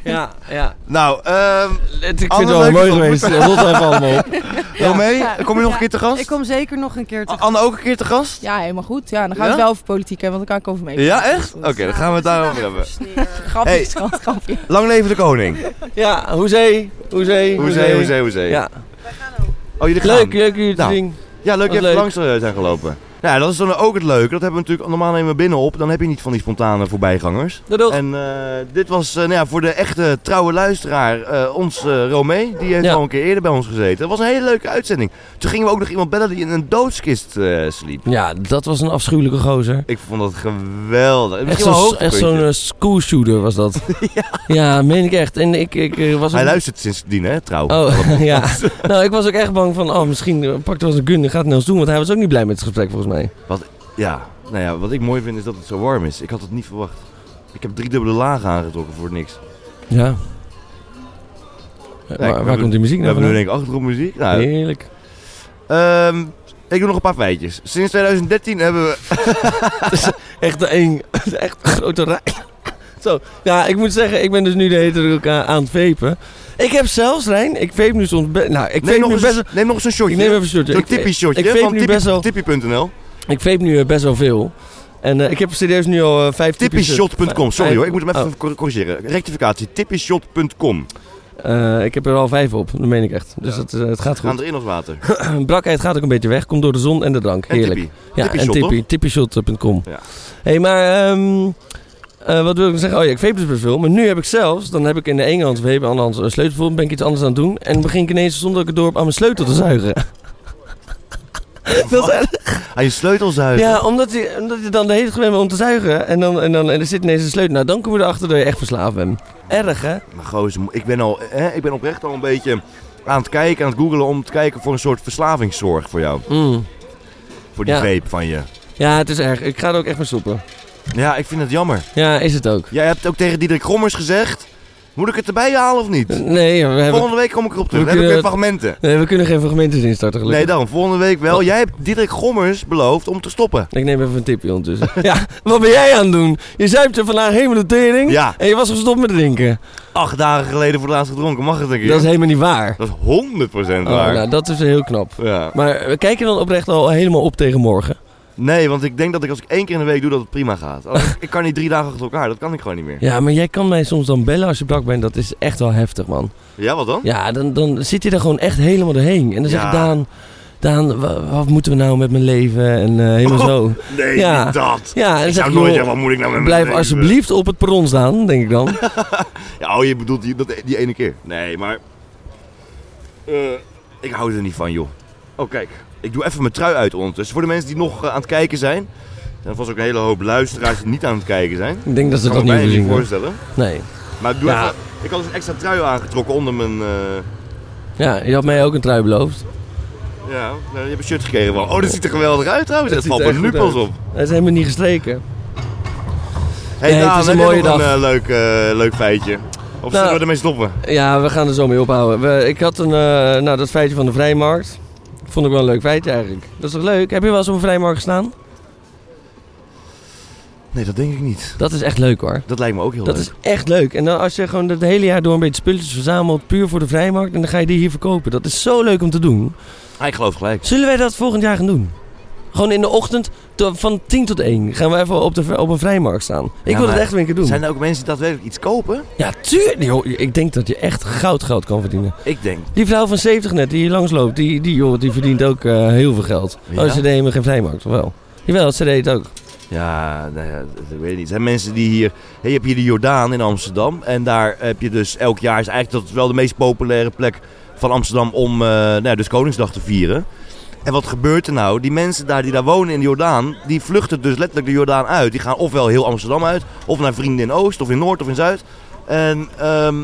[SPEAKER 2] Ja, ja.
[SPEAKER 1] Nou, ehm
[SPEAKER 2] Het- Ik
[SPEAKER 1] Alle
[SPEAKER 2] vind het wel
[SPEAKER 1] leuke
[SPEAKER 2] mooi
[SPEAKER 1] top.
[SPEAKER 2] geweest. Rot even allemaal op.
[SPEAKER 1] Romee,
[SPEAKER 5] Ja.
[SPEAKER 1] kom je nog
[SPEAKER 5] Ja.
[SPEAKER 1] een keer te gast?
[SPEAKER 5] Ik kom zeker nog een keer te
[SPEAKER 1] Anne ook een keer te gast?
[SPEAKER 6] Ja, helemaal goed. Ja, dan gaan we
[SPEAKER 1] Ja?
[SPEAKER 6] het wel over politiek hebben, want dan kan ik over mee.
[SPEAKER 1] Ja, echt? Oké, dan gaan we het daarover hebben.
[SPEAKER 6] Grapje,
[SPEAKER 1] Hey.
[SPEAKER 6] schat, grapje.
[SPEAKER 1] Lang leven de koning.
[SPEAKER 2] Ja, hoezee. Hoezee.
[SPEAKER 1] Hoezee, hoezee, hoezee.
[SPEAKER 2] Ja.
[SPEAKER 1] Oh, jullie gaan.
[SPEAKER 2] Leuk, leuk jullie te
[SPEAKER 1] Nou.
[SPEAKER 2] zien.
[SPEAKER 1] Ja, leuk dat je
[SPEAKER 2] Was
[SPEAKER 1] even langs
[SPEAKER 2] leuk.
[SPEAKER 1] eh, zijn gelopen. Nou, ja, dat is dan ook het leuke. Dat hebben we natuurlijk normaal nemen we binnen op. Dan heb je niet van die spontane voorbijgangers.
[SPEAKER 2] Doei, doei.
[SPEAKER 1] En eh, dit was eh, nou ja, voor de echte trouwe luisteraar eh, ons eh Romee. Die heeft
[SPEAKER 2] Ja.
[SPEAKER 1] al een keer eerder bij ons gezeten. Dat was een hele leuke uitzending. Toen gingen we ook nog iemand bellen die in een doodskist eh, sliep.
[SPEAKER 2] Ja, dat was een afschuwelijke gozer.
[SPEAKER 1] Ik vond dat geweldig.
[SPEAKER 2] Echt
[SPEAKER 1] Misschien wel
[SPEAKER 2] zo'n
[SPEAKER 1] een
[SPEAKER 2] echt zo'n
[SPEAKER 1] hoogtepuntje.
[SPEAKER 2] eh, school shooter was dat. ja. meen ik echt. En ik, ik eh, was
[SPEAKER 1] Hij
[SPEAKER 2] ook-
[SPEAKER 1] luistert sindsdien, hè, trouw.
[SPEAKER 2] Oh, ja. Nou, ik was ook echt bang van, oh, misschien eh, pakt er wel eens een gun en gaat het nou eens doen. Want hij was ook niet blij met het gesprek, volgens mij.
[SPEAKER 1] Ja, nou ja, wat ik mooi vind is dat het zo warm is. Ik had het niet verwacht. Ik heb drie dubbele lagen aangetrokken voor niks.
[SPEAKER 2] Ja.
[SPEAKER 1] we
[SPEAKER 2] Eh, waar waar
[SPEAKER 1] hebben-
[SPEAKER 2] komt die muziek
[SPEAKER 1] We
[SPEAKER 2] nou
[SPEAKER 1] hebben nu
[SPEAKER 2] vandaan?
[SPEAKER 1] denk ik achtergrondmuziek. Nou,
[SPEAKER 2] Heerlijk.
[SPEAKER 1] ehm, ik doe nog een paar feitjes. Sinds 2013 hebben we...
[SPEAKER 2] Echt een, echt een grote rij. Zo, ja, ik moet zeggen, ik ben dus nu de hele tijd ook aan, aan het vepen. Ik heb zelfs, Rijn, ik veep nu soms... be- nou, ik veep
[SPEAKER 1] nog
[SPEAKER 2] nu
[SPEAKER 1] eens,
[SPEAKER 2] best... wel-
[SPEAKER 1] neem nog eens een shotje.
[SPEAKER 2] Ik neem even een shotje.
[SPEAKER 1] Zo'n
[SPEAKER 2] Ik-
[SPEAKER 1] tippie shotje
[SPEAKER 2] ik vape
[SPEAKER 1] van
[SPEAKER 2] nu
[SPEAKER 1] tippie-
[SPEAKER 2] best wel-
[SPEAKER 1] Tippie.nl.
[SPEAKER 2] Ik vape nu eh, best wel veel. En eh, ik heb serieus nu al eh, vijf typische-
[SPEAKER 1] Tippieshot.com. Sorry
[SPEAKER 2] vijf-
[SPEAKER 1] hoor, ik moet hem even
[SPEAKER 2] Oh,
[SPEAKER 1] cor- corrigeren. Rectificatie, tippieshot.com.
[SPEAKER 2] eh, ik heb er al vijf op, dat meen ik echt. Dus dat, eh, het gaat goed.
[SPEAKER 1] Gaan erin als water.
[SPEAKER 2] Brakheid gaat ook een beetje weg, komt door de zon en de drank.
[SPEAKER 1] En
[SPEAKER 2] Heerlijk.
[SPEAKER 1] tippie.
[SPEAKER 2] Ja,
[SPEAKER 1] Tippie
[SPEAKER 2] en
[SPEAKER 1] shot,
[SPEAKER 2] tippie, tippyshot.com.
[SPEAKER 1] Ja.
[SPEAKER 2] Hé, hey, maar ehm, eh, wat wil ik nog zeggen? Oh ja, ik vape dus best veel. Maar nu heb ik zelfs, dan heb ik in de ene hand vape, in de andere hand een sleutel vol, dan ben ik iets anders aan het doen. En dan begin ik ineens zonder dat ik het door heb aan mijn sleutel te zuigen. Dat is echt-
[SPEAKER 1] Aan je sleutelzuiger.
[SPEAKER 2] ja, omdat je, omdat je dan de hele tijd gewend bent om te zuigen. En dan, en dan en er zit ineens een sleutel. Nou, dan kom je erachter dat je echt verslaafd bent. Erg, hè?
[SPEAKER 1] Maar gozer, ik ben, al, hè, ik ben oprecht al een beetje aan het kijken, aan het googelen om te kijken voor een soort verslavingszorg voor jou.
[SPEAKER 2] Mm.
[SPEAKER 1] Voor die
[SPEAKER 2] Ja.
[SPEAKER 1] vape van je.
[SPEAKER 2] Ja, het is erg. Ik ga er ook echt mee stoppen.
[SPEAKER 1] Ja, ik vind het jammer.
[SPEAKER 2] Ja, is het ook.
[SPEAKER 1] Jij hebt ook tegen Diederik Gommers gezegd, moet ik het erbij halen of niet?
[SPEAKER 2] Nee, we, hebben,
[SPEAKER 1] Volgende week kom ik erop terug.
[SPEAKER 2] We
[SPEAKER 1] Dan heb ik weer
[SPEAKER 2] kunnen-
[SPEAKER 1] fragmenten.
[SPEAKER 2] nee, we kunnen geen fragmenten instarten, eh, gelukkig.
[SPEAKER 1] Nee, daarom. Volgende week wel. Jij hebt Diederik Gommers beloofd om te stoppen.
[SPEAKER 2] Ik neem even een tipje ondertussen. ja, wat ben jij aan het doen? Je zuipt er vandaag helemaal de tering
[SPEAKER 1] Ja.
[SPEAKER 2] en je was gestopt met drinken.
[SPEAKER 1] Acht dagen geleden voor het laatst gedronken. Mag het een keer?
[SPEAKER 2] Dat is helemaal niet waar.
[SPEAKER 1] Dat is 100% waar.
[SPEAKER 2] Oh, nou, dat is heel knap.
[SPEAKER 1] ja.
[SPEAKER 2] Maar we kijken dan oprecht al helemaal op tegen morgen.
[SPEAKER 1] Nee, want ik denk dat ik als ik één keer in de week doe, dat het prima gaat. Als ik- ik kan niet drie dagen achter elkaar. Dat kan ik gewoon niet meer.
[SPEAKER 2] Ja, maar jij kan mij soms dan bellen als je brak bent. Dat is echt wel heftig, man.
[SPEAKER 1] Ja, wat dan?
[SPEAKER 2] Ja, dan, dan zit je er gewoon echt helemaal doorheen. En dan zeg
[SPEAKER 1] Ja.
[SPEAKER 2] ik, Daan, Daan, wa- wat moeten we nou met mijn leven? En eh, helemaal zo.
[SPEAKER 1] Nee,
[SPEAKER 2] Ja.
[SPEAKER 1] niet dat.
[SPEAKER 2] Ja, en dan
[SPEAKER 1] Oh. Ik
[SPEAKER 2] zeg
[SPEAKER 1] zou
[SPEAKER 2] ik,
[SPEAKER 1] nooit
[SPEAKER 2] joh,
[SPEAKER 1] zeggen, wat moet ik nou met mijn
[SPEAKER 2] blijf
[SPEAKER 1] leven?
[SPEAKER 2] alsjeblieft op het perron staan, denk ik dan.
[SPEAKER 1] Ja, oh, je bedoelt die, dat, die ene keer. Nee, maar... eh, ik hou er niet van, joh. Oh, kijk. Ik doe even mijn trui uit ondertussen. Voor de mensen die nog eh, aan het kijken zijn... En er was ook een hele hoop luisteraars die niet aan het kijken zijn.
[SPEAKER 2] ik denk dat ze
[SPEAKER 1] Ik
[SPEAKER 2] dat
[SPEAKER 1] kan
[SPEAKER 2] niet
[SPEAKER 1] me bijna
[SPEAKER 2] gezien
[SPEAKER 1] niet
[SPEAKER 2] hebben.
[SPEAKER 1] voorstellen.
[SPEAKER 2] Nee.
[SPEAKER 1] Maar ik, doe
[SPEAKER 2] Ja.
[SPEAKER 1] even, ik had dus een extra trui aangetrokken onder mijn... eh,
[SPEAKER 2] Ja, je had mij ook een trui beloofd.
[SPEAKER 1] Ja, nou, je hebt een shirt gekregen wel. Oh, dat ziet er geweldig uit trouwens.
[SPEAKER 2] Dat
[SPEAKER 1] Het valt
[SPEAKER 2] ziet
[SPEAKER 1] me
[SPEAKER 2] er echt
[SPEAKER 1] nu
[SPEAKER 2] goed
[SPEAKER 1] pas op.
[SPEAKER 2] Dat is helemaal niet gestreken.
[SPEAKER 1] Hey,
[SPEAKER 2] Nee, het
[SPEAKER 1] Daan,
[SPEAKER 2] is een
[SPEAKER 1] heb je
[SPEAKER 2] mooie
[SPEAKER 1] nog
[SPEAKER 2] dag. Nou.
[SPEAKER 1] Een eh, leuk, eh, leuk feitje. Of zullen we ermee stoppen?
[SPEAKER 2] Ja, we gaan er zo mee ophouden. We, ik had een, eh, nou, dat feitje van de vrijmarkt. Vond ik wel een leuk feitje eigenlijk. Dat is toch leuk? Heb je wel eens op een vrijmarkt gestaan?
[SPEAKER 1] Nee, dat denk ik niet.
[SPEAKER 2] Dat is echt leuk hoor.
[SPEAKER 1] Dat lijkt me ook heel
[SPEAKER 2] Dat
[SPEAKER 1] leuk.
[SPEAKER 2] is echt leuk. En dan als je gewoon het hele jaar door een beetje spulletjes verzamelt, puur voor de vrijmarkt, en dan ga je die hier verkopen. Dat is zo leuk om te doen.
[SPEAKER 1] Ah, ik geloof gelijk.
[SPEAKER 2] Zullen wij dat volgend jaar gaan doen? Gewoon in de ochtend to- van 10 tot 1 gaan we even op, de, v- op een vrijmarkt staan. Ik
[SPEAKER 1] Ja,
[SPEAKER 2] wil het
[SPEAKER 1] maar
[SPEAKER 2] echt weer een keer doen.
[SPEAKER 1] Zijn er ook mensen die daadwerkelijk iets kopen?
[SPEAKER 2] Ja, tuurlijk. joh. Ik denk dat je echt goud goud kan verdienen.
[SPEAKER 1] Ik denk.
[SPEAKER 2] Die vrouw van 70 net, die hier langsloopt, die, die, joh, die verdient ook eh, heel veel geld.
[SPEAKER 1] Ja?
[SPEAKER 2] Oh, ze deed helemaal geen vrijmarkt, of wel? Jawel, ze deed het ook.
[SPEAKER 1] Ja, nou ja, dat- ik weet niet. Er zijn mensen die hier... Hey, je hebt hier de Jordaan in Amsterdam. En daar heb je dus elk jaar... is eigenlijk dat wel de meest populaire plek van Amsterdam om eh, nou, ja, dus Koningsdag te vieren. En wat gebeurt er nou? Die mensen daar die daar wonen in de Jordaan... die vluchten dus letterlijk de Jordaan uit. Die gaan ofwel heel Amsterdam uit... of naar vrienden in Oost, of in Noord, of in Zuid. En, ehm,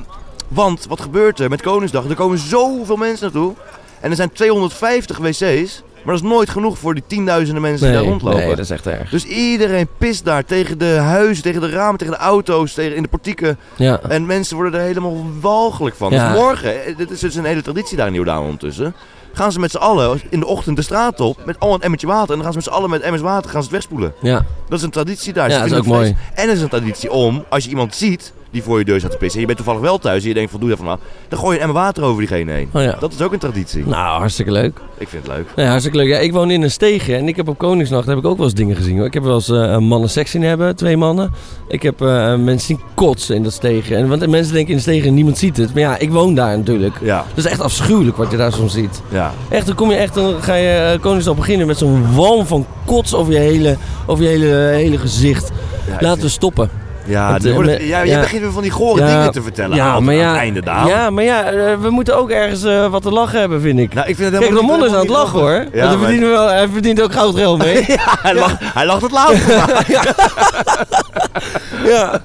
[SPEAKER 1] want wat gebeurt er met Koningsdag? Er komen zoveel mensen naartoe. En er zijn 250 wc's. Maar dat is nooit genoeg voor die tienduizenden mensen die daar
[SPEAKER 2] Nee,
[SPEAKER 1] rondlopen.
[SPEAKER 2] nee, dat is echt erg.
[SPEAKER 1] Dus iedereen pist daar tegen de huizen, tegen de ramen, tegen de auto's, tegen in de portieken.
[SPEAKER 2] Ja.
[SPEAKER 1] En mensen worden er helemaal walgelijk van.
[SPEAKER 2] Ja.
[SPEAKER 1] Dus morgen, eh, dit is dus een hele traditie daar in Nieuwdaan ondertussen. Gaan ze met z'n allen in de ochtend de straat op met al een emmertje water. En dan gaan ze met z'n allen met emmers water gaan ze het wegspoelen.
[SPEAKER 2] Ja.
[SPEAKER 1] Dat is een traditie daar.
[SPEAKER 2] Ja,
[SPEAKER 1] Ze
[SPEAKER 2] dat is
[SPEAKER 1] vinden
[SPEAKER 2] ook
[SPEAKER 1] het feest. En het is een traditie om, als je iemand ziet die voor je deur staat te pissen. en je bent toevallig wel thuis en je denkt van doe dat van af. dan gooi je een emmer water over diegene heen.
[SPEAKER 2] Oh ja.
[SPEAKER 1] Dat is ook een traditie.
[SPEAKER 2] Nou, hartstikke leuk.
[SPEAKER 1] Ik vind het leuk.
[SPEAKER 2] Nee, hartstikke leuk. Ja, ik woon in een steegje en ik heb op Koningsnacht heb ik ook wel eens dingen gezien. Hoor. Ik heb wel eens eh, een mannen seks zien hebben, twee mannen. Ik heb eh, mensen zien kotsen in dat steegje. En, want de mensen denken in de steegje, niemand ziet het. Maar ja, ik woon daar natuurlijk.
[SPEAKER 1] Ja,
[SPEAKER 2] Dat is echt afschuwelijk wat je daar soms ziet.
[SPEAKER 1] ja.
[SPEAKER 2] Echt, dan kom je echt, dan ga je eh, Koningsdag beginnen met zo'n walm van kots over je hele, over je hele, eh, hele gezicht.
[SPEAKER 1] ja
[SPEAKER 2] Laten we stoppen.
[SPEAKER 1] Ja,
[SPEAKER 2] Het,
[SPEAKER 1] dan
[SPEAKER 2] eh,
[SPEAKER 1] wordt
[SPEAKER 2] me-
[SPEAKER 1] het- ja,
[SPEAKER 2] ja.
[SPEAKER 1] je begint weer van die gore
[SPEAKER 2] Ja,
[SPEAKER 1] dingen te vertellen.
[SPEAKER 2] ja,
[SPEAKER 1] aan,
[SPEAKER 2] maar ja,
[SPEAKER 1] aan het einde daar.
[SPEAKER 2] ja, maar ja, eh, we moeten ook ergens eh, wat te lachen hebben, vind ik.
[SPEAKER 1] Nou, ik vind het
[SPEAKER 2] Kijk,
[SPEAKER 1] helemaal
[SPEAKER 2] Ramon
[SPEAKER 1] niet-
[SPEAKER 2] is aan het
[SPEAKER 1] helemaal
[SPEAKER 2] lachen hoor. Want
[SPEAKER 1] Ja,
[SPEAKER 2] hij,
[SPEAKER 1] maar-
[SPEAKER 2] verdient wel, hij verdient ook goud geld mee.
[SPEAKER 1] niet- Hij, lacht, hij lacht het laatst.
[SPEAKER 2] Ja.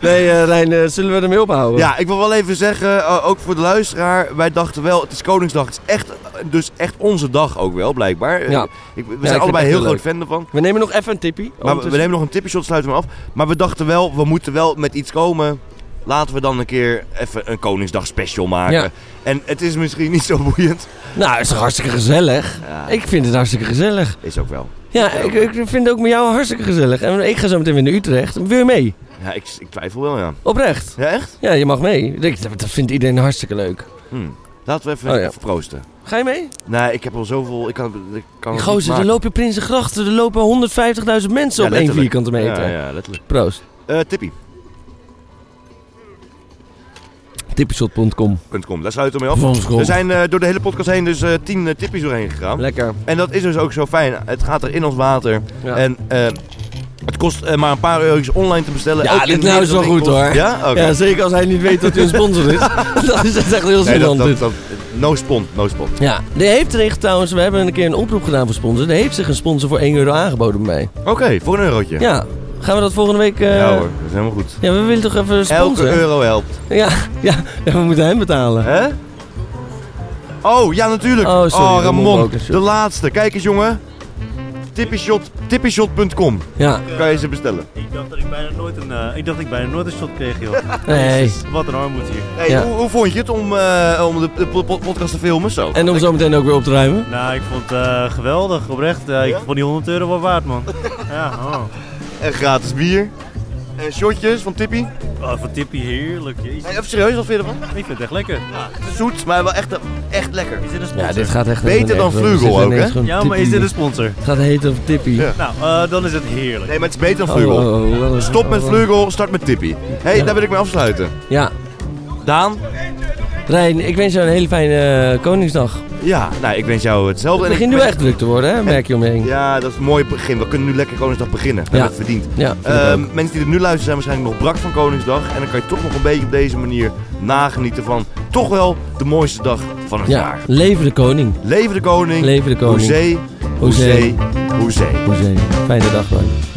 [SPEAKER 2] Nee, eh Rijn, eh, zullen we ermee ophouden?
[SPEAKER 1] ja, ik wil wel even zeggen, eh, ook voor de luisteraar. Wij dachten wel, het is Koningsdag. Het is echt, eh, dus echt onze dag ook wel, blijkbaar. Eh,
[SPEAKER 2] Ja.
[SPEAKER 1] Ik, we
[SPEAKER 2] het
[SPEAKER 1] zijn allebei
[SPEAKER 2] echt
[SPEAKER 1] heel
[SPEAKER 2] heel
[SPEAKER 1] groot fan ervan.
[SPEAKER 2] We nemen nog even een tippie.
[SPEAKER 1] Maar we, we nemen nog een tipje shot, sluiten we af. Maar we dachten wel, we moeten wel met iets komen. Laten we dan een keer even een Koningsdag special maken.
[SPEAKER 2] Ja.
[SPEAKER 1] En het is misschien niet zo boeiend.
[SPEAKER 2] Nou, is toch hartstikke gezellig?
[SPEAKER 1] Ja,
[SPEAKER 2] Ik vind het hartstikke gezellig.
[SPEAKER 1] Is ook wel.
[SPEAKER 2] Ja, ik, ik vind het ook met jou hartstikke gezellig. En ik ga zo meteen weer naar Utrecht. Wil je mee?
[SPEAKER 1] Ja, ik, ik twijfel wel, ja.
[SPEAKER 2] Oprecht.
[SPEAKER 1] Ja, echt?
[SPEAKER 2] Ja, je mag mee. Ik- Dat dat vindt iedereen hartstikke leuk.
[SPEAKER 1] Hm. Laten we even,
[SPEAKER 2] Oh, ja.
[SPEAKER 1] even proosten.
[SPEAKER 2] Ga je mee?
[SPEAKER 1] Nee, ik heb al zoveel. Ik kan, ik kan het Oh, niet
[SPEAKER 2] Gozer, er
[SPEAKER 1] maken.
[SPEAKER 2] lopen Prinsengrachten. Er lopen 150.000 mensen
[SPEAKER 1] Ja,
[SPEAKER 2] op één
[SPEAKER 1] letterlijk.
[SPEAKER 2] vierkante meter.
[SPEAKER 1] Ja, ja, letterlijk.
[SPEAKER 2] Proost.
[SPEAKER 1] Eh tippie.com,
[SPEAKER 2] Tippieshot.com.
[SPEAKER 1] Oh, daar sluiten we mee af.
[SPEAKER 2] Vlamskom.
[SPEAKER 1] We zijn eh, door de hele podcast heen dus eh, tien eh, tippies doorheen gegaan.
[SPEAKER 2] Lekker.
[SPEAKER 1] En dat is dus ook zo fijn. Het gaat er in ons water.
[SPEAKER 2] Ja.
[SPEAKER 1] En eh, het kost eh, maar een paar euro's online te bestellen.
[SPEAKER 2] Ja,
[SPEAKER 1] Ook
[SPEAKER 2] dit
[SPEAKER 1] in de
[SPEAKER 2] nou is wel
[SPEAKER 1] winkel.
[SPEAKER 2] goed, hoor.
[SPEAKER 1] Ja? Oké.
[SPEAKER 2] Ja, zeker als hij niet weet dat hij een sponsor is. dat is echt heel
[SPEAKER 1] Nee, dat,
[SPEAKER 2] zielig.
[SPEAKER 1] dat, dat, no spon, no spon.
[SPEAKER 2] Ja, de heeft zich trouwens, we hebben een keer een oproep gedaan voor sponsors. De heeft zich een sponsor voor 1 euro aangeboden bij mij.
[SPEAKER 1] Oké, voor een eurotje.
[SPEAKER 2] Ja. gaan we dat volgende week... eh,
[SPEAKER 1] Ja hoor, dat is helemaal goed.
[SPEAKER 2] ja, we willen toch even een sponsor.
[SPEAKER 1] Elke euro helpt.
[SPEAKER 2] Ja, ja, ja, we moeten hem betalen.
[SPEAKER 1] Hè? Oh, ja natuurlijk.
[SPEAKER 2] Oh, sorry, Ramon
[SPEAKER 1] Ramon,
[SPEAKER 2] Brouwkers, joh.
[SPEAKER 1] de laatste. Kijk eens jongen. Tippieshot, tippieshot.com.
[SPEAKER 2] Ja,
[SPEAKER 1] Kan je ze bestellen.
[SPEAKER 3] Ik dacht dat ik bijna nooit een, eh, ik dacht dat ik bijna nooit een shot kreeg, joh.
[SPEAKER 2] nee.
[SPEAKER 3] Wat een armoede hier.
[SPEAKER 1] Hey,
[SPEAKER 2] Ja.
[SPEAKER 1] hoe, hoe vond je het om, eh, om de, de po- po- podcast te filmen zo?
[SPEAKER 2] En om zo meteen ook weer op te ruimen.
[SPEAKER 3] Nou, ik vond het eh, geweldig, oprecht. Eh,
[SPEAKER 1] Ja?
[SPEAKER 3] Ik vond die 100 euro wel waard, man. Ja, oh.
[SPEAKER 1] En gratis bier. En shotjes van Tippy.
[SPEAKER 3] Oh, van Tippy heerlijk. Jezus.
[SPEAKER 1] Hey, even serieus, wat vind je ervan?
[SPEAKER 3] Ik vind het echt lekker.
[SPEAKER 1] Zoet, maar wel echt, echt lekker.
[SPEAKER 3] Is dit een sponsor?
[SPEAKER 2] Ja, dit gaat echt...
[SPEAKER 1] Beter
[SPEAKER 2] helemaal
[SPEAKER 1] dan
[SPEAKER 2] nergens over.
[SPEAKER 1] Vleugel ook,
[SPEAKER 2] Dit is ineens
[SPEAKER 1] hè?
[SPEAKER 2] gewoon
[SPEAKER 3] Ja, maar is
[SPEAKER 2] tippie.
[SPEAKER 3] dit een sponsor?
[SPEAKER 2] Het gaat heten over Tippie.
[SPEAKER 1] Ja.
[SPEAKER 3] Nou, eh, dan is het heerlijk.
[SPEAKER 1] Nee, maar het is beter dan
[SPEAKER 2] Oh,
[SPEAKER 1] Vlugel.
[SPEAKER 2] oh, oh, wel-
[SPEAKER 1] Stop met
[SPEAKER 2] oh,
[SPEAKER 1] Vlugel, start met Tippy. Hé, hey, daar wil ik mee afsluiten.
[SPEAKER 2] Ja.
[SPEAKER 1] Daan?
[SPEAKER 2] Rijn, ik wens jou een hele fijne eh, Koningsdag.
[SPEAKER 1] Ja, nou, ik wens jou hetzelfde.
[SPEAKER 2] Het
[SPEAKER 1] En ik
[SPEAKER 2] begint nu
[SPEAKER 1] ben-
[SPEAKER 2] echt druk te worden, hè? merk je omheen.
[SPEAKER 1] Ja, dat is een mooi begin. We kunnen nu lekker Koningsdag beginnen. We
[SPEAKER 2] Ja.
[SPEAKER 1] hebben het verdiend.
[SPEAKER 2] Ja, vind ik
[SPEAKER 1] Ehm,
[SPEAKER 2] ook.
[SPEAKER 1] mensen die er nu luisteren zijn waarschijnlijk nog brak van Koningsdag. En dan kan je toch nog een beetje op deze manier nagenieten van toch wel de mooiste dag van het
[SPEAKER 2] ja.
[SPEAKER 1] jaar.
[SPEAKER 2] Leven de koning.
[SPEAKER 1] Leven de koning.
[SPEAKER 2] Leven de koning.
[SPEAKER 1] Hoezee. Hoezee.
[SPEAKER 2] Hoezee.
[SPEAKER 1] Hoezee.
[SPEAKER 2] Hoezee. Fijne dag, Rijn.